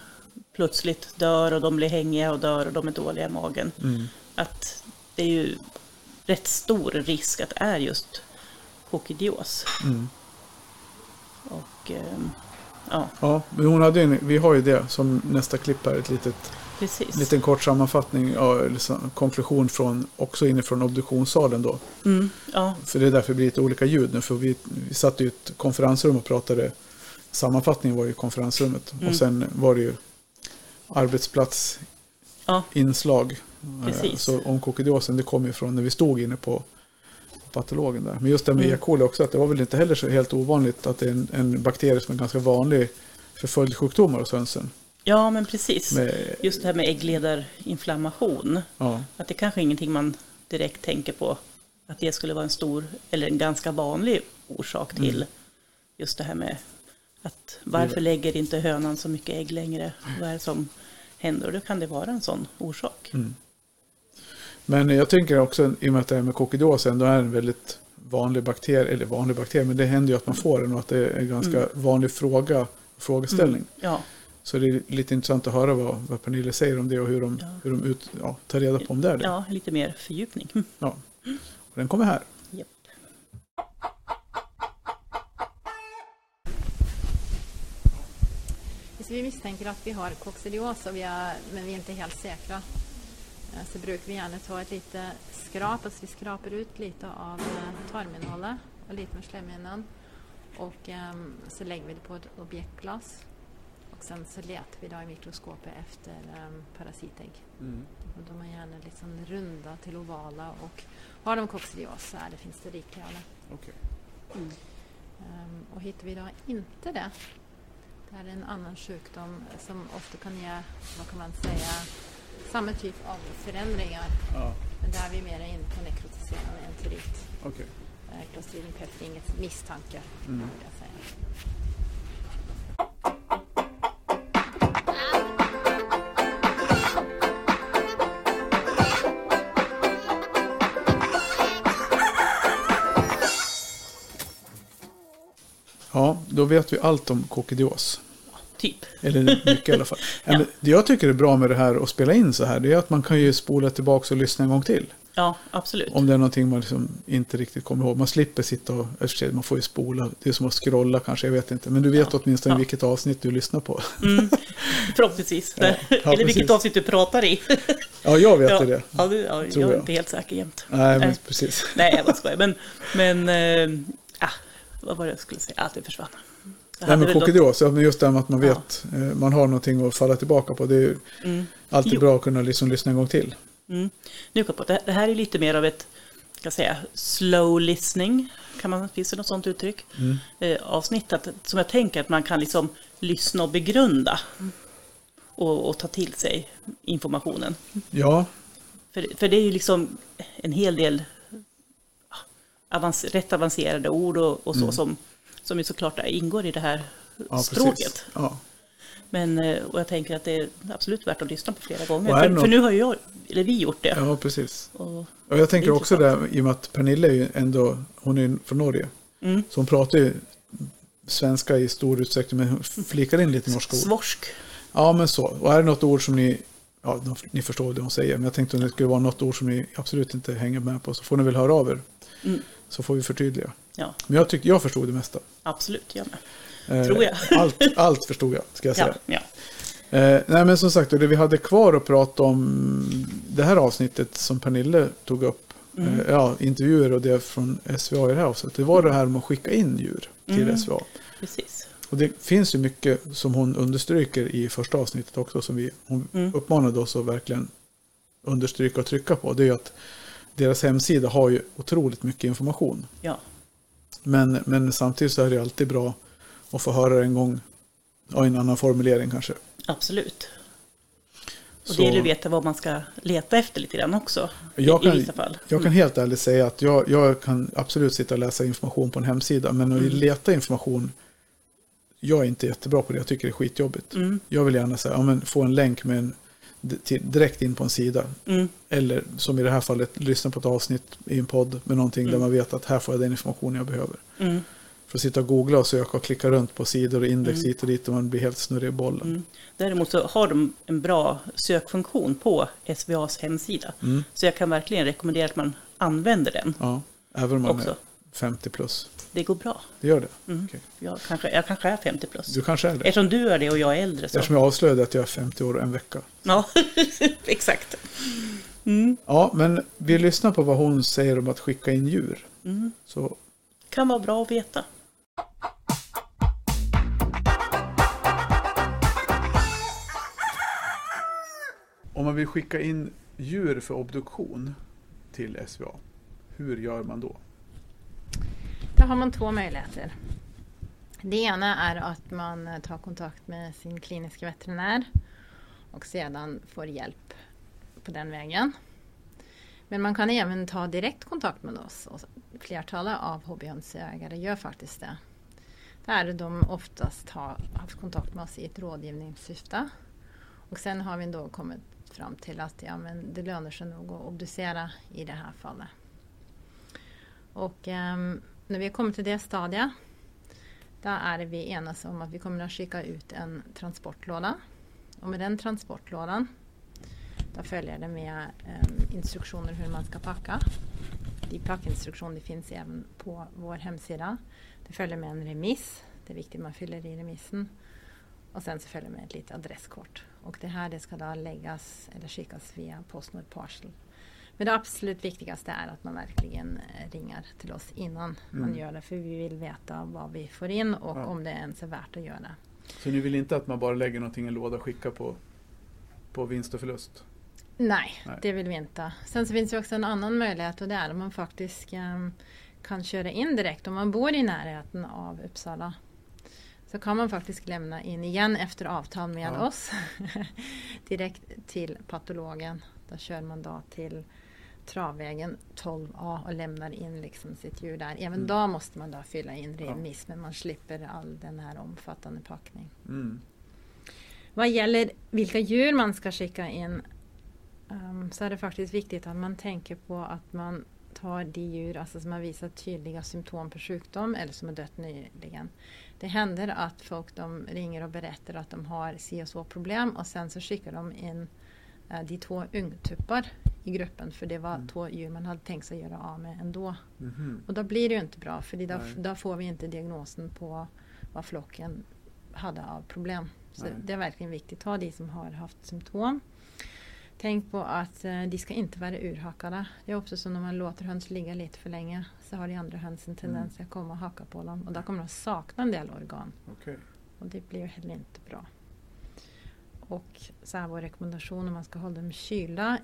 [SPEAKER 2] plötsligt dör och de blir hängiga och dör och de är dåliga i magen.
[SPEAKER 1] Mm.
[SPEAKER 2] Att det är ju rätt stor risk att det är just kokidios.
[SPEAKER 1] Mm.
[SPEAKER 2] Och ehm, ja,
[SPEAKER 1] Ja, men hon hade en, vi har ju det som nästa klipp här, ett litet,
[SPEAKER 2] precis.
[SPEAKER 1] en liten kort sammanfattning, ja, eller så- konklusion från, också inifrån obduktionssalen då.
[SPEAKER 2] Mm, ja,
[SPEAKER 1] För det är därför det blir lite olika ljud nu, för vi, vi satt i ett konferensrum och pratade, sammanfattningen var ju i konferensrummet och sen var det ju arbetsplatsinslag.
[SPEAKER 2] ja,
[SPEAKER 1] Eh,
[SPEAKER 2] Precis.
[SPEAKER 1] Så om kokidiosen, det kom ju från när vi stod inne på patologen där. Men just det med E. coli också, att det var väl inte heller så helt ovanligt att det är en, en bakterie som är ganska vanlig förföljd sjukdomar hos hönsen.
[SPEAKER 2] ja, men precis.
[SPEAKER 1] Med-
[SPEAKER 2] Just det här med äggledarinflammation.
[SPEAKER 1] Ja.
[SPEAKER 2] Att det kanske är ingenting man direkt tänker på. Att det skulle vara en stor, eller en ganska vanlig orsak
[SPEAKER 1] Mm.
[SPEAKER 2] till just det här med att varför lägger inte hönan så mycket ägg längre? Vad är det som händer? Och då kan det vara en sån orsak.
[SPEAKER 1] Mm. Men jag tänker också, i och med att det här med kokidios ändå är en väldigt vanlig bakterie, eller vanlig bakterie, men det händer ju att man får den och att det är en ganska vanlig fråga, frågeställning.
[SPEAKER 2] Ja,
[SPEAKER 1] Så det är lite intressant att höra vad, vad Pernille säger om det och hur de, hur de ut, ja, tar reda på om det är det.
[SPEAKER 2] ja, lite mer fördjupning. Mm.
[SPEAKER 1] Ja. Och den kommer här.
[SPEAKER 2] Japp.
[SPEAKER 3] Så vi misstänker att vi har koxidios, och vi är, men vi är inte helt säkra. Eh, Så brukar vi gärna ta ett litet skrap, alltså vi skrapar ut lite av eh, tarminnehållet och lite med slemhinnan. Och ehm, så lägger vi det på ett objektglas. Och sen så letar vi då i mikroskopet efter um, parasitägg. Och de är gärna liksom runda till ovala och har de koxidios så är det, finns det rikliga av det. Ehm, Och hittar vi då inte det, det här är en annan sjukdom som ofta kan ge, vad kan man säga, samma typ av förändringar.
[SPEAKER 1] Ja,
[SPEAKER 3] Men där är vi mer inne på nekrotiserande enterit.
[SPEAKER 1] okej. Mm.
[SPEAKER 3] Eh, Clostridium pest är inget misstanke, skulle jag säga.
[SPEAKER 1] Ja, då vet vi allt om kokidios.
[SPEAKER 2] Typ. (laughs)
[SPEAKER 1] Eller mycket i alla fall. Men Det jag tycker är bra med det här att spela in så här, det är att man kan ju spola tillbaka och lyssna en gång till.
[SPEAKER 2] Ja, absolut.
[SPEAKER 1] Om det är någonting man liksom inte riktigt kommer ihåg. Man slipper sitta och, i och för sig, man får ju spola. Det är som att scrolla kanske, jag vet inte. Men du vet åtminstone
[SPEAKER 2] Ja.
[SPEAKER 1] vilket avsnitt du lyssnar på.
[SPEAKER 2] (laughs)
[SPEAKER 1] (laughs)
[SPEAKER 2] Förhoppningsvis.
[SPEAKER 1] Ja, ja,
[SPEAKER 2] eller vilket
[SPEAKER 1] precis.
[SPEAKER 2] avsnitt du pratar i.
[SPEAKER 1] Ja, jag vet
[SPEAKER 2] ja, Eh.
[SPEAKER 1] ju det.
[SPEAKER 2] Ja, det, ja,
[SPEAKER 1] Tror
[SPEAKER 2] jag är
[SPEAKER 1] jag.
[SPEAKER 2] inte helt säker jämt.
[SPEAKER 1] Nej, men
[SPEAKER 2] Nej.
[SPEAKER 1] precis.
[SPEAKER 2] Nej, jag bara skojar. Men, men eh, ah, vad var det jag skulle säga? Ah, det försvann. Jag
[SPEAKER 1] Nej,
[SPEAKER 2] hade
[SPEAKER 1] men
[SPEAKER 2] väl då-
[SPEAKER 1] kokidios, ja, men just det här med att man
[SPEAKER 2] Ja. Mm.
[SPEAKER 1] vet, eh, man har någonting att falla tillbaka på. Det är ju alltid
[SPEAKER 2] Jo.
[SPEAKER 1] bra att kunna liksom lyssna en gång till.
[SPEAKER 2] Mm. Nu kom jag på att det- det här är lite mer av ett ska jag säga, slow listening, kan man, finns det något sånt uttryck?
[SPEAKER 1] Mm.
[SPEAKER 2] Eh, avsnitt att, som jag tänker att man kan liksom lyssna och begrunda och, och ta till sig informationen.
[SPEAKER 1] Ja,
[SPEAKER 2] För, för det är ju liksom en hel del ah, avans, rätt avancerade ord och, och så som, som ju såklart ingår i det här
[SPEAKER 1] Mm. ja
[SPEAKER 2] språket.
[SPEAKER 1] precis. Ja.
[SPEAKER 2] Men, eh, och jag tänker att det är absolut värt att lyssna på flera gånger.
[SPEAKER 1] Och är det
[SPEAKER 2] För,
[SPEAKER 1] något-
[SPEAKER 2] för nu har ju jag, eller vi gjort det.
[SPEAKER 1] ja, precis.
[SPEAKER 2] Och,
[SPEAKER 1] Och jag tänker
[SPEAKER 2] Det är
[SPEAKER 1] också det, i och med att Pernille är ju ändå, hon är ju från Norge.
[SPEAKER 2] Mm.
[SPEAKER 1] Så hon pratar ju svenska i stor utsträckning, men hon flikar in lite norska ord.
[SPEAKER 2] svorsk.
[SPEAKER 1] Ja, men så. Och är det något ord som ni, ja, ni förstår det hon säger, men jag tänkte om det skulle vara något ord som ni absolut inte hänger med på, så får ni väl höra av er.
[SPEAKER 2] Mm.
[SPEAKER 1] Så får vi förtydliga.
[SPEAKER 2] Ja,
[SPEAKER 1] Men jag tyckte, jag förstod det mesta.
[SPEAKER 2] absolut. Jag med.
[SPEAKER 1] Eh,
[SPEAKER 2] Tror jag.
[SPEAKER 1] Allt, allt förstod jag, ska jag
[SPEAKER 2] Ja,
[SPEAKER 1] säga.
[SPEAKER 2] ja.
[SPEAKER 1] Eh, nej, men som sagt, och det vi hade kvar att prata om det här avsnittet som Pernille tog upp,
[SPEAKER 2] Mm.
[SPEAKER 1] eh, ja, intervjuer och det från SVA i det här avsnittet, det var det här med att skicka in djur till
[SPEAKER 2] Mm.
[SPEAKER 1] SVA.
[SPEAKER 2] Precis.
[SPEAKER 1] Och det finns ju mycket som hon understryker i första avsnittet också, som vi, hon
[SPEAKER 2] Mm.
[SPEAKER 1] uppmanade oss att verkligen understryka och trycka på. Det är ju att deras hemsida har ju otroligt mycket information.
[SPEAKER 2] Ja,
[SPEAKER 1] Men, men samtidigt så är det alltid bra att få höra det en gång, ja, i en annan formulering kanske.
[SPEAKER 2] absolut. Och
[SPEAKER 1] Så-
[SPEAKER 2] det gäller ju att veta vad man ska leta efter lite grann också. i-
[SPEAKER 1] Jag kan,
[SPEAKER 2] I vissa fall.
[SPEAKER 1] jag kan helt ärligt säga att jag, jag kan absolut sitta och läsa information på en hemsida, men
[SPEAKER 2] Mm.
[SPEAKER 1] att leta information,
[SPEAKER 2] Mm.
[SPEAKER 1] jag är inte jättebra på det, jag tycker det är skitjobbigt. Jag vill gärna säga, ja, men få en länk med en d- till, direkt in på en sida.
[SPEAKER 2] Mm.
[SPEAKER 1] Eller som i det här fallet, lyssna på ett avsnitt i en podd med någonting där man vet att här får jag den information jag behöver.
[SPEAKER 2] Mm.
[SPEAKER 1] För att sitta och googla och söka och klicka runt på sidor och index hit och dit och man blir helt snurrig i bollen.
[SPEAKER 2] Mm. Däremot så har de en bra sökfunktion på SVAs hemsida.
[SPEAKER 1] Mm.
[SPEAKER 2] Så jag kan verkligen rekommendera att man använder den
[SPEAKER 1] Ja, även om man
[SPEAKER 2] också.
[SPEAKER 1] är 50 plus.
[SPEAKER 2] Det går bra.
[SPEAKER 1] Det gör det.
[SPEAKER 2] Mm.
[SPEAKER 1] Okej.
[SPEAKER 2] Jag, kanske, jag kanske är 50 plus.
[SPEAKER 1] Du kanske är det.
[SPEAKER 2] Eftersom du är det och jag är äldre så.
[SPEAKER 1] Eftersom jag avslöjade att jag är 50 år och en vecka.
[SPEAKER 2] Ja, (laughs) exakt.
[SPEAKER 1] Ja, men vi lyssnar på vad hon säger om att skicka in djur.
[SPEAKER 2] Mm.
[SPEAKER 1] Så
[SPEAKER 2] Kan vara bra att veta.
[SPEAKER 1] om man vill skicka in djur för obduktion till SVA, hur gör man då?
[SPEAKER 3] Där har man två möjligheter. Det ena är att man eh, tar kontakt med sin kliniska veterinär och sedan får hjälp på den vägen. Men man kan även ta direkt kontakt med oss och flertalet av hobbyhönsägare gör faktiskt det. Där de oftast har haft kontakt med oss i ett rådgivningssyfte. Och sen har vi då kommit fram till att ja, men det lönar sig nog att obducera i det här fallet. Och ehm, när vi kommer till det stadiet, då är vi enas om att vi kommer att skicka ut en transportlåda. Och med den transportlådan, då följer det med ehm, instruktioner hur man ska packa. De packinstruktioner finns även på vår hemsida. Det följer med en remiss, det är viktigt man fyller i remissen. Och sen så följer med ett litet adresskort. Och det här det ska då läggas eller skickas via Postnord Parcel. Men det absolut viktigaste är att man verkligen eh, ringar till oss innan man gör det. För vi vill veta vad vi får in och
[SPEAKER 1] Ja.
[SPEAKER 3] om det ens är värt att göra.
[SPEAKER 1] Så ni vill inte att man bara lägger någonting i en låda och skickar på, på vinst och förlust?
[SPEAKER 3] Nej,
[SPEAKER 1] Nej.
[SPEAKER 3] det vill vi inte. Sen så finns det också en annan möjlighet och det är att man faktiskt ehm, kan köra in direkt om man bor i närheten av Uppsala. Så kan man faktiskt lämna in igen efter avtal med
[SPEAKER 1] Ja.
[SPEAKER 3] oss (laughs) direkt till patologen. Då kör man då till Travvägen 12A och lämnar in liksom sitt djur där. Även
[SPEAKER 1] Mm.
[SPEAKER 3] då måste man då fylla in
[SPEAKER 1] Ja.
[SPEAKER 3] remiss men man slipper all den här omfattande packning.
[SPEAKER 1] Mm.
[SPEAKER 3] Vad gäller vilka djur man ska skicka in ehm, så är det faktiskt viktigt att man tänker på att man tar de djur alltså, som har visat tydliga symptom på sjukdom eller som har dött nyligen. Det händer att folk de ringer och berättar att de har si och så problem och sen så skickar de in eh, de två ungtuppar i gruppen för det var
[SPEAKER 1] Mm.
[SPEAKER 3] två djur man hade tänkt sig göra av med ändå.
[SPEAKER 1] Mhm.
[SPEAKER 3] Och då blir det ju inte bra för då,
[SPEAKER 1] Nej.
[SPEAKER 3] då får vi inte diagnosen på vad flocken hade av problem. Så
[SPEAKER 1] Nej.
[SPEAKER 3] det är verkligen viktigt. Ta de som har haft symptom. Tänk på att eh, de ska inte vara urhackade. Det är också så när man låter höns ligga lite för länge så har de andra
[SPEAKER 1] Mm.
[SPEAKER 3] hönsen tendens att komma och hacka på dem och då kommer de sakna en del organ.
[SPEAKER 1] Okej.
[SPEAKER 3] Och det blir ju heller inte bra. Och så här vår rekommendation om man ska hålla dem kylda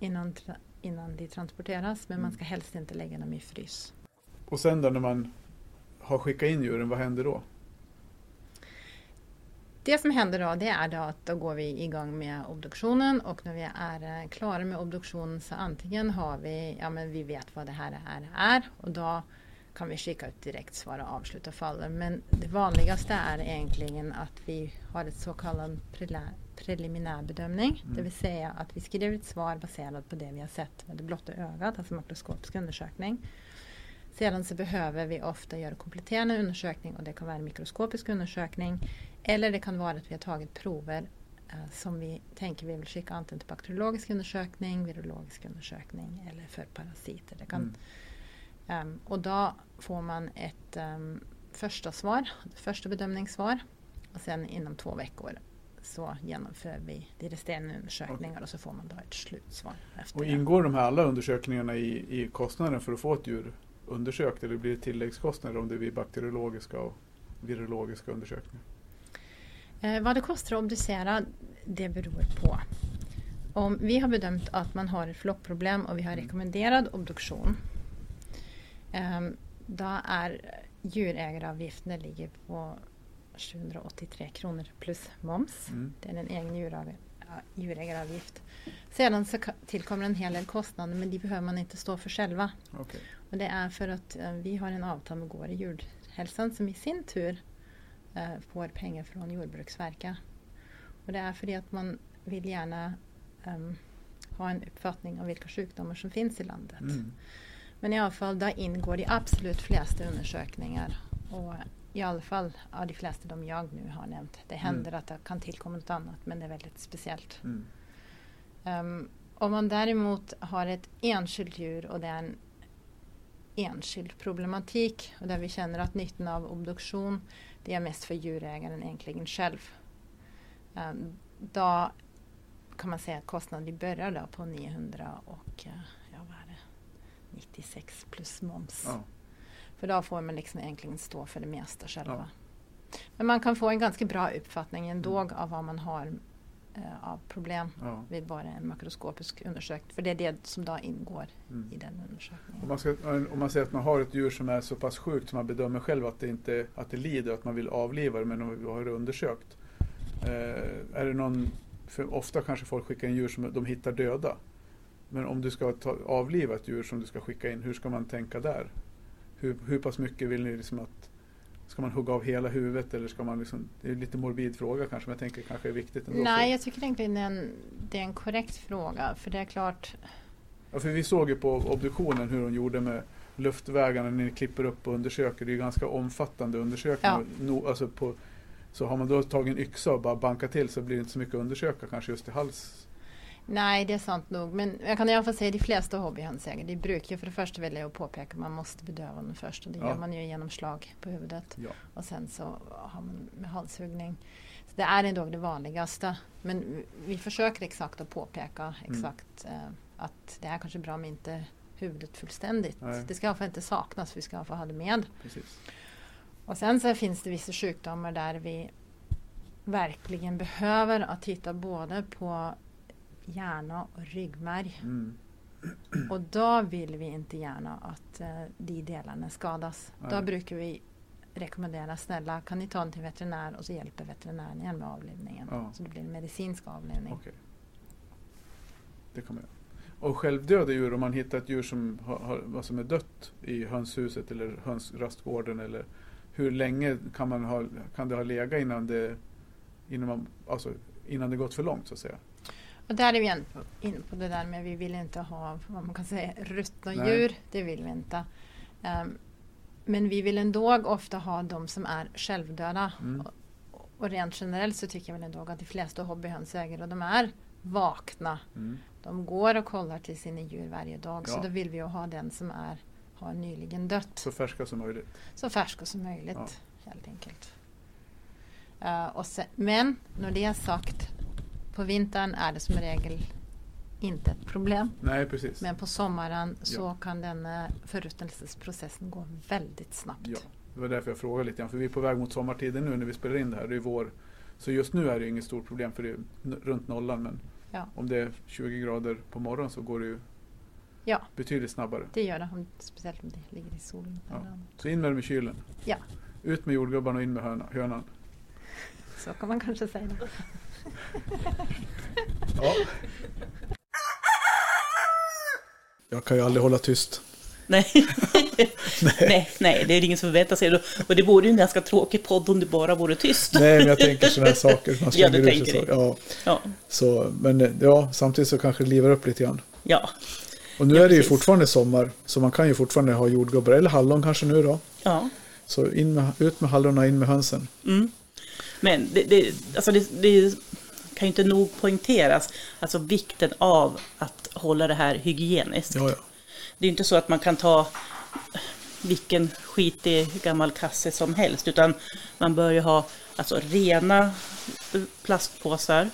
[SPEAKER 3] innan, tra- innan de transporteras men man
[SPEAKER 1] Mm.
[SPEAKER 3] ska helst inte lägga dem i frys.
[SPEAKER 1] Och sen då när man har skickat in djuren, vad händer då?
[SPEAKER 3] Det som händer då, det är då att då går vi igång med obduktionen och när vi är eh, klara med obduktionen så antingen har vi, ja men vi vet vad det här är, är och då kan vi skicka ut direkt svar och avsluta fallet. Men det vanligaste är egentligen att vi har ett så kallat prela- preliminär bedömning, det vill säga att vi skriver ett svar baserat på det vi har sett med det blotta ögat, alltså makroskopisk undersökning. Sedan så behöver vi ofta göra kompletterande undersökning och det kan vara en mikroskopisk undersökning eller det kan vara att vi har tagit prover eh, som vi tänker vi vill skicka antingen till bakteriologisk undersökning, virologisk undersökning eller för parasiter. Det
[SPEAKER 1] Mm.
[SPEAKER 3] kan, Ehm, och då får man ett ehm, första svar, ett första bedömningssvar och sen inom två veckor så genomför vi de resterande undersökningar och så får man då ett slutsvar. Efter
[SPEAKER 1] Och
[SPEAKER 3] det.
[SPEAKER 1] ingår de här alla undersökningarna i, i kostnaden för att få ett djur undersökt eller blir det tilläggskostnader om det blir bakteriologiska och virologiska undersökningar?
[SPEAKER 3] Eh, vad det kostar att obducera, det beror på. Om vi har bedömt att man har ett flockproblem och vi har
[SPEAKER 1] Mm.
[SPEAKER 3] rekommenderad obduktion, ehm, då är djurägaravgiften det ligger på 783 kronor plus moms.
[SPEAKER 1] Mm.
[SPEAKER 3] Det är en egen djurav- ja, djurägaravgift. Sedan så ka- tillkommer en hel del kostnader men de behöver man inte stå för själva.
[SPEAKER 1] Okej.
[SPEAKER 3] Och det är för att eh, vi har en avtal med Gård i djurhälsan som i sin tur eh, får pengar från Jordbruksverket. Och det är för det att man vill gärna ehm, ha en uppfattning om vilka sjukdomar som finns i landet.
[SPEAKER 1] Mm.
[SPEAKER 3] Men i alla fall, det ingår de absolut flesta undersökningar. Och I alla fall av de flesta de jag nu har nämnt. Det händer att det kan tillkomma något annat, men det är väldigt speciellt.
[SPEAKER 1] Mm.
[SPEAKER 3] Ehm, om man däremot har ett enskilt djur och det är en enskild problematik och där vi känner att nyttan av obduktion det är mest för djurägaren egentligen själv. Ehm, då kan man säga att kostnaden börjar då på 900 och eh, ja, vad är det? 96 plus moms.
[SPEAKER 1] Ja.
[SPEAKER 3] För då får man liksom egentligen stå för det mesta själva.
[SPEAKER 1] Ja. Mm.
[SPEAKER 3] Men man kan få en ganska bra uppfattning ändå av vad man har eh, av problem
[SPEAKER 1] Ja.
[SPEAKER 3] vid bara en makroskopisk undersökning. För det är det som då ingår
[SPEAKER 1] Mm.
[SPEAKER 3] i den undersökningen.
[SPEAKER 1] Om man, ska, om man säger att man har ett djur som är så pass sjukt som man bedömer själv att det, inte, att det lider och att man vill avliva det men om vi har det undersökt. Eh, är det någon, för ofta kanske folk skickar in djur som de hittar döda. Men om du ska ta, avliva ett djur som du ska skicka in, hur ska man tänka där? Hur, hur pass mycket vill ni liksom att Ska man hugga av hela huvudet eller ska man liksom, det är en lite morbid fråga kanske men jag tänker kanske är viktigt ändå.
[SPEAKER 3] Nej, jag tycker egentligen det är, en, det är en korrekt fråga. För det är klart,
[SPEAKER 1] Ja, för vi såg ju på obduktionen hur hon gjorde med luftvägarna när ni klipper upp och undersöker. Det är ju ganska omfattande undersökningar. No, alltså på, så har man då tagit en yxa och bara bankat till så blir det inte så mycket att undersöka kanske just i hals.
[SPEAKER 3] nej det är sant nog. Men jag kan i alla fall säga de flesta hobbyhönsägare, de brukar ju för det första vilja jag påpeka man måste bedöva den först. Och det
[SPEAKER 1] Ja.
[SPEAKER 3] gör man ju genom slag på huvudet.
[SPEAKER 1] Ja.
[SPEAKER 3] Och sen så har man med halshuggning. Så det är ändå det vanligaste. Men vi- vi försöker exakt att påpeka
[SPEAKER 1] Mm.
[SPEAKER 3] exakt eh, att det är kanske bra med inte huvudet fullständigt.
[SPEAKER 1] Nej.
[SPEAKER 3] Det ska i alla fall inte saknas, vi ska i alla fall ha det med.
[SPEAKER 1] Precis.
[SPEAKER 3] Och sen så finns det vissa sjukdomar där vi verkligen behöver att titta både på hjärna och
[SPEAKER 1] (clears throat)
[SPEAKER 3] ryggmärg.
[SPEAKER 1] Mm.
[SPEAKER 3] Och då vill vi inte gärna att eh, de delarna skadas. Då
[SPEAKER 1] Nej.
[SPEAKER 3] brukar vi rekommendera snälla kan ni ta den till veterinär och så hjälper veterinären igen med avlivningen.
[SPEAKER 1] Ja.
[SPEAKER 3] Så det blir en medicinsk avlivning.
[SPEAKER 1] Okej. Det kommer jag. Och självdöda djur, om man hittar ett djur som, har, har, vad som är dött i hönshuset eller hönsrastgården. Eller hur länge kan, man ha, kan det ha legat innan det, innan, man, alltså, innan det gått för långt så att säga?
[SPEAKER 3] Och där är vi igen inne på det där med vi vill inte ha vad man kan säga ruttna
[SPEAKER 1] Nej.
[SPEAKER 3] djur. Det vill vi inte. Ehm, men vi vill ändå ofta ha de som är självdöda.
[SPEAKER 1] Mm.
[SPEAKER 3] Och, och rent generellt så tycker jag väl ändå att de flesta hobbyhönsägare de är vakna.
[SPEAKER 1] Mm.
[SPEAKER 3] De går och kollar till sina djur varje dag så
[SPEAKER 1] Ja.
[SPEAKER 3] då vill vi ju ha den som är, har nyligen dött
[SPEAKER 1] Så färska som möjligt.
[SPEAKER 3] så färska som möjligt helt enkelt. Eh, och se, men när det är sagt, på vintern är det som regel inte ett problem.
[SPEAKER 1] Nej, precis.
[SPEAKER 3] Men på sommaren så kan den eh, förruttnelsesprocessen gå väldigt snabbt.
[SPEAKER 1] Ja, det var därför jag frågade lite grann. För vi är på väg mot sommartiden nu när vi spelar in det här. Det är vår. Så just nu är det ju inget stort problem för det är n- runt nollan. Men
[SPEAKER 3] Ja.
[SPEAKER 1] om det är 20 grader på morgonen så går det ju
[SPEAKER 3] Ja.
[SPEAKER 1] betydligt snabbare.
[SPEAKER 3] Det gör det, om, speciellt om det ligger i solen.
[SPEAKER 1] Ja.
[SPEAKER 3] eller annat.
[SPEAKER 1] Så in med dem i kylen.
[SPEAKER 3] Ja.
[SPEAKER 1] Ut med jordgubbarna och in med höna, hönan.
[SPEAKER 3] Så kan man kanske säga. Det.
[SPEAKER 1] Ja. Jag kan ju aldrig hålla tyst.
[SPEAKER 2] Nej.
[SPEAKER 1] (laughs)
[SPEAKER 2] nej, nej, det är ingen som förväntar sig det. Och det vore ju en ganska tråkig podd om det bara vore tyst.
[SPEAKER 1] Nej, men jag tänker
[SPEAKER 2] (laughs)
[SPEAKER 1] sådana här saker. Man
[SPEAKER 2] Ja, du
[SPEAKER 1] slänger ur sig
[SPEAKER 2] tänker
[SPEAKER 1] saker. Ja,
[SPEAKER 2] Ja,
[SPEAKER 1] så, men eh, ja, samtidigt så kanske det livar upp lite grann.
[SPEAKER 2] ja,
[SPEAKER 1] Och nu
[SPEAKER 2] Ja,
[SPEAKER 1] är det ju
[SPEAKER 2] precis.
[SPEAKER 1] fortfarande sommar, så man kan ju fortfarande ha jordgubbar eller hallon kanske nu då.
[SPEAKER 2] ja.
[SPEAKER 1] Så in med, ut med hallonen, in med hönsen.
[SPEAKER 2] Mm. Men det, det, alltså det, det kan ju inte nog poängteras, alltså vikten av att hålla det här hygieniskt.
[SPEAKER 1] Ja, ja.
[SPEAKER 2] Det är ju inte så att man kan ta vilken skitig gammal kasse som helst, utan man bör ju ha alltså, rena plastpåsar,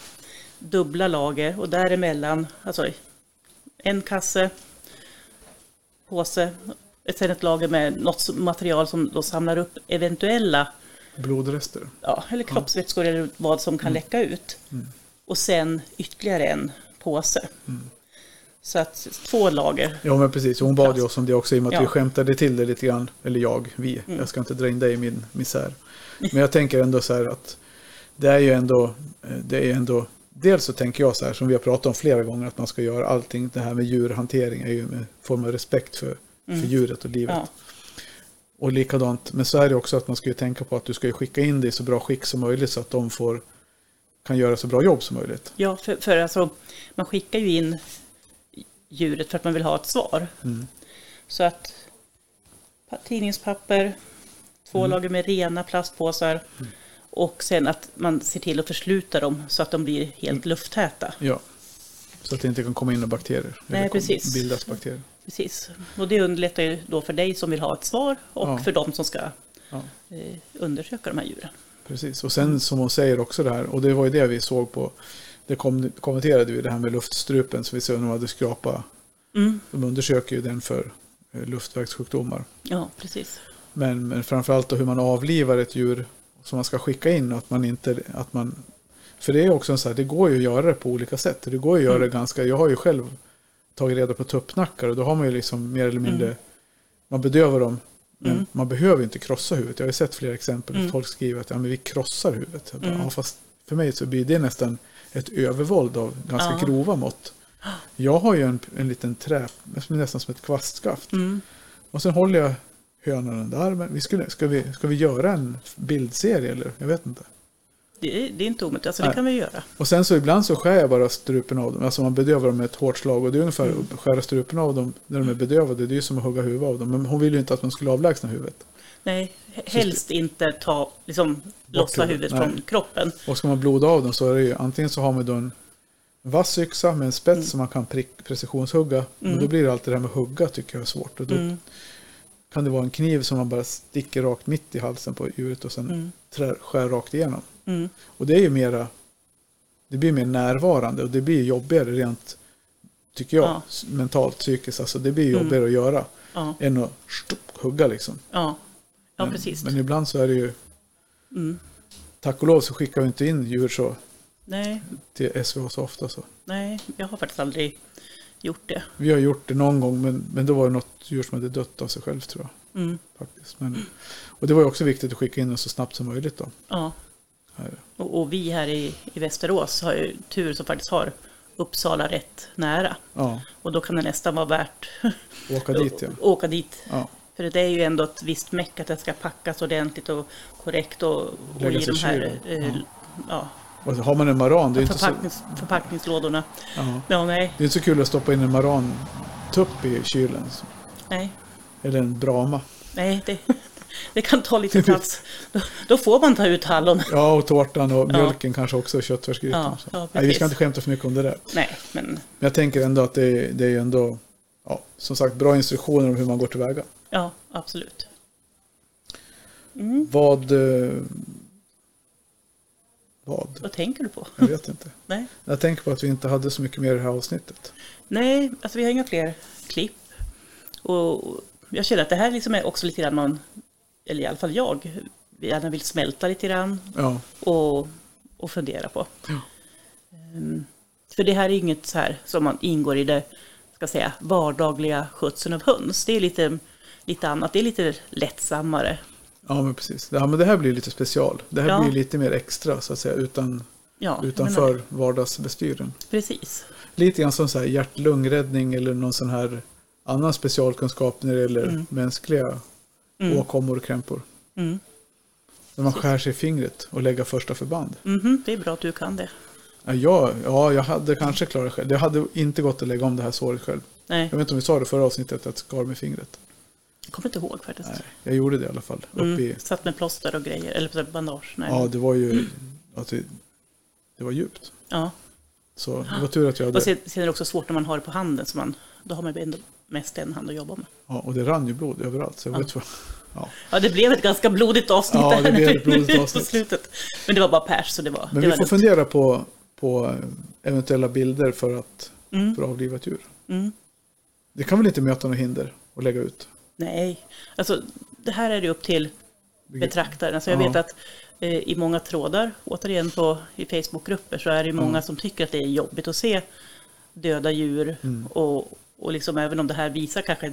[SPEAKER 2] dubbla lager och däremellan, alltså en kasse, påse, sen ett lager med något material som då samlar upp eventuella
[SPEAKER 1] Blodrester.
[SPEAKER 2] ja, eller kroppsvätskor eller vad som kan läcka ut. Och sen ytterligare en påse. Så att två lager.
[SPEAKER 1] Ja, men precis. Hon bad ju oss om det också i och med att
[SPEAKER 2] Ja. Mm.
[SPEAKER 1] vi skämtade till det lite grann. Eller jag, vi. Jag ska inte dra in dig i min misär.
[SPEAKER 2] (laughs)
[SPEAKER 1] Men jag tänker ändå så här att det är ju ändå, eh, det är ändå Dels så tänker jag så här som vi har pratat om flera gånger att man ska göra allting det här med djurhantering är ju en form av respekt för, för djuret och livet.
[SPEAKER 2] Mm. Ja.
[SPEAKER 1] Och likadant, men så är det också att man ska ju tänka på att du ska ju skicka in det i så bra skick som möjligt så att de får kan göra så bra jobb som möjligt.
[SPEAKER 2] Ja, för, för alltså, man skickar ju in djuret för att man vill ha ett svar.
[SPEAKER 1] Mm.
[SPEAKER 2] Så att pa- tidningspapper, två
[SPEAKER 1] Mm.
[SPEAKER 2] lager med rena plastpåsar och sen att man ser till att försluta dem så att de blir
[SPEAKER 1] Mm.
[SPEAKER 2] helt lufttäta.
[SPEAKER 1] Ja. Så att det inte kan komma in några bakterier.
[SPEAKER 2] Nej,
[SPEAKER 1] eller kom-
[SPEAKER 2] precis.
[SPEAKER 1] Bildas bakterier.
[SPEAKER 2] Precis. Och det underlättar ju då för dig som vill ha ett svar och
[SPEAKER 1] Ja.
[SPEAKER 2] för de som ska
[SPEAKER 1] Ja.
[SPEAKER 2] eh, undersöka de här djuren.
[SPEAKER 1] Precis, och sen som hon säger också det här, och det var ju det vi såg på, det kom, kommenterade vi det här med luftstrupen som vi såg när de hade skrapa.
[SPEAKER 2] Mm.
[SPEAKER 1] De undersöker ju den för eh, luftvägssjukdomar.
[SPEAKER 2] Ja, precis.
[SPEAKER 1] Men, men framförallt då hur man avlivar ett djur som man ska skicka in. Att man inte, att man, för det är också en så här, det går ju att göra det på olika sätt. Det går ju att göra
[SPEAKER 2] Mm.
[SPEAKER 1] det ganska, jag har ju själv tagit reda på tuppnackar och då har man ju liksom mer eller mindre, man bedövar dem. Men
[SPEAKER 2] Mm.
[SPEAKER 1] man behöver ju inte krossa huvudet. Jag har ju sett flera exempel där
[SPEAKER 2] Mm.
[SPEAKER 1] folk skriver att ja, men vi krossar huvudet. Jag bara,
[SPEAKER 2] Mm.
[SPEAKER 1] ja, fast för mig så blir det nästan ett övervåld av ganska
[SPEAKER 2] Ja.
[SPEAKER 1] grova mått. Jag har ju en, en liten trä, nästan som ett kvastskaft.
[SPEAKER 2] Mm.
[SPEAKER 1] Och sen håller jag hönan under armen. Vi skulle, ska, vi, ska vi göra en bildserie eller? Jag vet inte.
[SPEAKER 2] Det, är- det är inte omöjligt, alltså, det
[SPEAKER 1] Nej.
[SPEAKER 2] kan vi göra.
[SPEAKER 1] Och sen så ibland så skär jag bara strupen av dem. Alltså man bedövar dem med ett hårt slag. Och det är ungefär att skära strupen av dem när de är bedövade. Det är ju som att hugga huvudet av dem. Men hon ville ju inte att man skulle avlägsna huvudet.
[SPEAKER 2] Nej, helst inte ta, liksom, lossa
[SPEAKER 1] huvudet,
[SPEAKER 2] huvudet
[SPEAKER 1] nej.
[SPEAKER 2] från kroppen.
[SPEAKER 1] Och ska man bloda av dem så är det ju antingen så har man då en vass yxa med en spets som man kan prick, precisionshugga. Men då blir det alltid det här med hugga tycker jag är svårt. Och då
[SPEAKER 2] Mm.
[SPEAKER 1] kan det vara en kniv som man bara sticker rakt mitt i halsen på djuret och sen trär, skär rakt igenom.
[SPEAKER 2] Mm.
[SPEAKER 1] Och det är ju mera, det blir mer närvarande och det blir jobbigare rent, tycker jag,
[SPEAKER 2] Ja.
[SPEAKER 1] s- mentalt, psykiskt. Alltså det blir jobbigare att göra
[SPEAKER 2] Ja,
[SPEAKER 1] än att stup, hugga liksom.
[SPEAKER 2] ja. ja precis.
[SPEAKER 1] Men ibland så är det ju,
[SPEAKER 2] Mm.
[SPEAKER 1] tack och lov så skickar vi inte in djur så
[SPEAKER 2] Nej,
[SPEAKER 1] till SVH så ofta så.
[SPEAKER 2] nej, jag har faktiskt aldrig gjort det.
[SPEAKER 1] Vi har gjort det någon gång men, men då var det något djur som hade dött av sig själv tror jag.
[SPEAKER 2] Mm.
[SPEAKER 1] Faktiskt. Men, och det var ju också viktigt att skicka in den så snabbt som möjligt då.
[SPEAKER 2] Ja.
[SPEAKER 1] Här.
[SPEAKER 2] Och, och vi här i, i Västerås har ju tur som faktiskt har Uppsala rätt nära.
[SPEAKER 1] Ja,
[SPEAKER 2] Och då kan det nästan vara värt
[SPEAKER 1] åka dit ja.
[SPEAKER 2] att åka dit.
[SPEAKER 1] ja.
[SPEAKER 2] För det är ju ändå ett visst meck att det ska packas ordentligt och korrekt och, och i
[SPEAKER 1] Läggas i
[SPEAKER 2] de här
[SPEAKER 1] kylen.
[SPEAKER 2] eh, ja,
[SPEAKER 1] Och så har man en maran, det är ju inte så,
[SPEAKER 2] förpacknings, förpackningslådorna.
[SPEAKER 1] ja,
[SPEAKER 2] Ja, nej,
[SPEAKER 1] det är inte så kul att stoppa in en marantupp i kylen. Så.
[SPEAKER 2] nej,
[SPEAKER 1] Eller en brama.
[SPEAKER 2] nej, det, det kan ta lite plats. Då, då får man ta ut hallon.
[SPEAKER 1] Ja, och tårtan och mjölken kanske också, och köttfärsgrytan.
[SPEAKER 2] Ja,
[SPEAKER 1] Så.
[SPEAKER 2] ja,
[SPEAKER 1] Nej, vi
[SPEAKER 2] precis.
[SPEAKER 1] ska inte skämta för mycket om det där.
[SPEAKER 2] Nej, men
[SPEAKER 1] Men jag tänker ändå att det är, det är ju ändå, ja, som sagt, bra instruktioner om hur man går tillväga.
[SPEAKER 2] ja, absolut. Mm,
[SPEAKER 1] Vad... eh, Vad?
[SPEAKER 2] Vad tänker du på?
[SPEAKER 1] Jag vet inte.
[SPEAKER 2] Nej,
[SPEAKER 1] Jag tänker på att vi inte hade så mycket mer i det här avsnittet.
[SPEAKER 2] nej alltså vi har inga fler klipp. Och jag känner att det här liksom är också lite grann man, eller i alla fall jag, gärna vill smälta lite grann
[SPEAKER 1] Ja,
[SPEAKER 2] och, och fundera på. Ehm, För det här är inget så här som man ingår i det ska jag säga, vardagliga skötseln av höns. Det är lite, lite annat, det är lite lättsammare.
[SPEAKER 1] ja men precis. Ja, men det här blir lite special. Det här
[SPEAKER 2] Ja.
[SPEAKER 1] blir lite mer extra, så att säga, utan,
[SPEAKER 2] Ja, jag menar,
[SPEAKER 1] utanför vardagsbestyren.
[SPEAKER 2] precis.
[SPEAKER 1] lite grann som så här hjärt-lungräddning eller någon sån här annan specialkunskap när det gäller mänskliga åkommor och krämpor.
[SPEAKER 2] Mm.
[SPEAKER 1] När man skär sig i fingret och lägger första förband.
[SPEAKER 2] Mhm, det är bra att du kan det.
[SPEAKER 1] Ja, jag, ja, jag hade kanske klarat själv. Det hade inte gått att lägga om det här såret själv.
[SPEAKER 2] Nej,
[SPEAKER 1] Jag vet inte om vi sa det förra avsnittet att jag skar med fingret.
[SPEAKER 2] jag kommer inte ihåg faktiskt.
[SPEAKER 1] Nej, jag gjorde det i alla fall. Uppe i,
[SPEAKER 2] Mm, satt med plåster och grejer, eller bandage. Nej.
[SPEAKER 1] ja, det var
[SPEAKER 2] Mm.
[SPEAKER 1] ju att det, det var djupt.
[SPEAKER 2] ja.
[SPEAKER 1] Så det var tur att jag
[SPEAKER 2] Och
[SPEAKER 1] hade...
[SPEAKER 2] sen, sen är det också svårt när man har det på handen, så man, då har man ju ändå mest en hand att jobba med.
[SPEAKER 1] Ja, och det rann ju blod överallt. Så jag vet vad, ja.
[SPEAKER 2] Ja, det blev ett ganska blodigt avsnitt
[SPEAKER 1] Ja, det
[SPEAKER 2] här
[SPEAKER 1] blev
[SPEAKER 2] nu-
[SPEAKER 1] ett blodigt
[SPEAKER 2] nu
[SPEAKER 1] avsnitt.
[SPEAKER 2] (laughs) på slutet. Men det var bara pers, så det var
[SPEAKER 1] Men
[SPEAKER 2] det
[SPEAKER 1] vi
[SPEAKER 2] var
[SPEAKER 1] får
[SPEAKER 2] lugnt.
[SPEAKER 1] fundera på, på eventuella bilder för att
[SPEAKER 2] Mm.
[SPEAKER 1] för avlivat djur.
[SPEAKER 2] Mm.
[SPEAKER 1] Det kan väl inte möta några hinder att lägga ut?
[SPEAKER 2] Nej, alltså det här är det upp till betraktaren. Alltså, jag
[SPEAKER 1] Mm. Ja.
[SPEAKER 2] vet att eh, i många trådar, återigen på, i Facebookgrupper, så är det många som tycker att det är jobbigt att se döda djur. Och, och liksom, även om det här visar kanske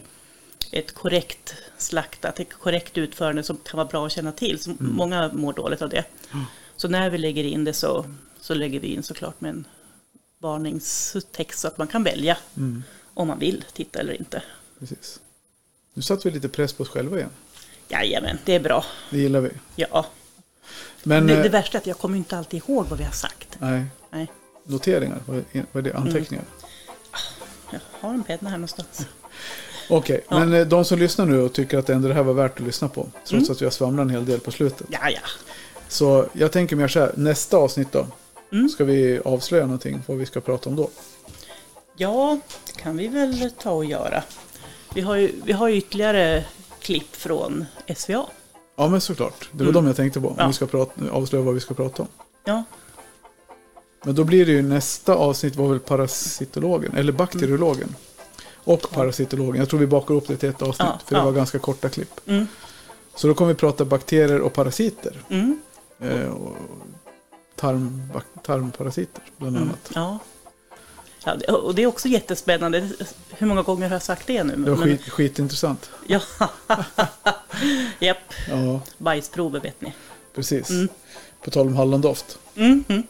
[SPEAKER 2] ett korrekt slaktat, ett korrekt utförande som kan vara bra att känna till, så många mår dåligt av det. Så när vi lägger in det så, så lägger vi in såklart med en varningstext så att man kan välja om man vill titta eller inte.
[SPEAKER 1] Precis. Nu satte vi lite press på oss själva igen.
[SPEAKER 2] Jajamän, det är bra.
[SPEAKER 1] Det gillar vi.
[SPEAKER 2] Ja.
[SPEAKER 1] Men,
[SPEAKER 2] det, det
[SPEAKER 1] eh,
[SPEAKER 2] värsta är att jag kommer ju inte alltid ihåg vad vi har sagt.
[SPEAKER 1] nej,
[SPEAKER 2] Nej,
[SPEAKER 1] noteringar, vad är- vad
[SPEAKER 2] Mm.
[SPEAKER 1] är det? Anteckningar?
[SPEAKER 2] jag har en penna här någonstans.
[SPEAKER 1] Okej,
[SPEAKER 2] Ja.
[SPEAKER 1] men eh, de som lyssnar nu och tycker att ändå det här var värt att lyssna på, trots att vi har svamlat en hel del på slutet.
[SPEAKER 2] Mm. Ja, ja.
[SPEAKER 1] Så jag tänker mer så här, nästa avsnitt då?
[SPEAKER 2] Mm.
[SPEAKER 1] Ska vi avslöja någonting vad vi ska prata om då?
[SPEAKER 2] Ja, det kan vi väl ta och göra. Vi har ju, vi har ju ytterligare klipp från SVA.
[SPEAKER 1] Ja men såklart, det var de jag tänkte på. Om
[SPEAKER 2] Mm. Ja.
[SPEAKER 1] vi ska prata, avslöja vad vi ska prata om.
[SPEAKER 2] Ja,
[SPEAKER 1] Men då blir det ju nästa avsnitt var väl parasitologen, eller bakteriologen. Och parasitologen. Jag tror vi bakar upp det till ett avsnitt,
[SPEAKER 2] Ja,
[SPEAKER 1] för det
[SPEAKER 2] ja.
[SPEAKER 1] var ganska korta klipp.
[SPEAKER 2] Mm.
[SPEAKER 1] Så då kommer vi prata bakterier och parasiter.
[SPEAKER 2] mm,
[SPEAKER 1] Eh, och tarm, bak- tarmparasiter, bland annat.
[SPEAKER 2] mm. ja. ja. det- Och det är också jättespännande. Hur många gånger har jag sagt det nu?
[SPEAKER 1] Det var
[SPEAKER 2] Men-
[SPEAKER 1] skit, skitintressant.
[SPEAKER 2] Ja. Japp,
[SPEAKER 1] Ja,
[SPEAKER 2] bajsprover vet ni.
[SPEAKER 1] precis.
[SPEAKER 2] Mm.
[SPEAKER 1] På tal om hallondoft.
[SPEAKER 2] Mm, mm.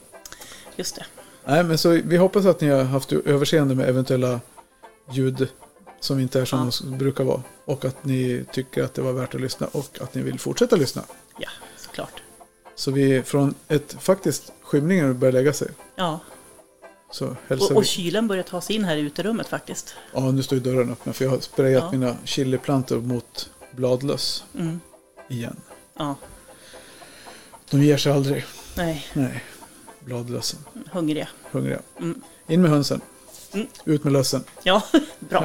[SPEAKER 2] Just det.
[SPEAKER 1] Nej, men så vi hoppas att ni har haft överseende med eventuella ljud som inte är som
[SPEAKER 2] Ja.
[SPEAKER 1] de brukar vara. Och att ni tycker att det var värt att lyssna och att ni vill fortsätta lyssna.
[SPEAKER 2] Ja, såklart.
[SPEAKER 1] Så vi från ett faktiskt skymningen börjar lägga sig.
[SPEAKER 2] Ja.
[SPEAKER 1] Så hälsar
[SPEAKER 2] Och, och
[SPEAKER 1] vi.
[SPEAKER 2] kylen börjar ta sig in här i uterummet faktiskt.
[SPEAKER 1] Ja, nu står ju dörren öppen för jag har sprayat
[SPEAKER 2] Ja.
[SPEAKER 1] mina chiliplantor mot bladlöss
[SPEAKER 2] Mm.
[SPEAKER 1] igen.
[SPEAKER 2] Ja,
[SPEAKER 1] De ger sig aldrig.
[SPEAKER 2] nej,
[SPEAKER 1] Nej, bladlössen.
[SPEAKER 2] hungriga.
[SPEAKER 1] Hungriga.
[SPEAKER 2] Mm.
[SPEAKER 1] In med hönsen.
[SPEAKER 2] Mm.
[SPEAKER 1] Ut med lössen.
[SPEAKER 2] Ja, (laughs) bra.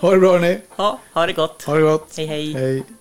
[SPEAKER 1] Ha det bra hörni.
[SPEAKER 2] Ja, ha det gott.
[SPEAKER 1] Ha det gott.
[SPEAKER 2] Hej, hej.
[SPEAKER 1] Hej.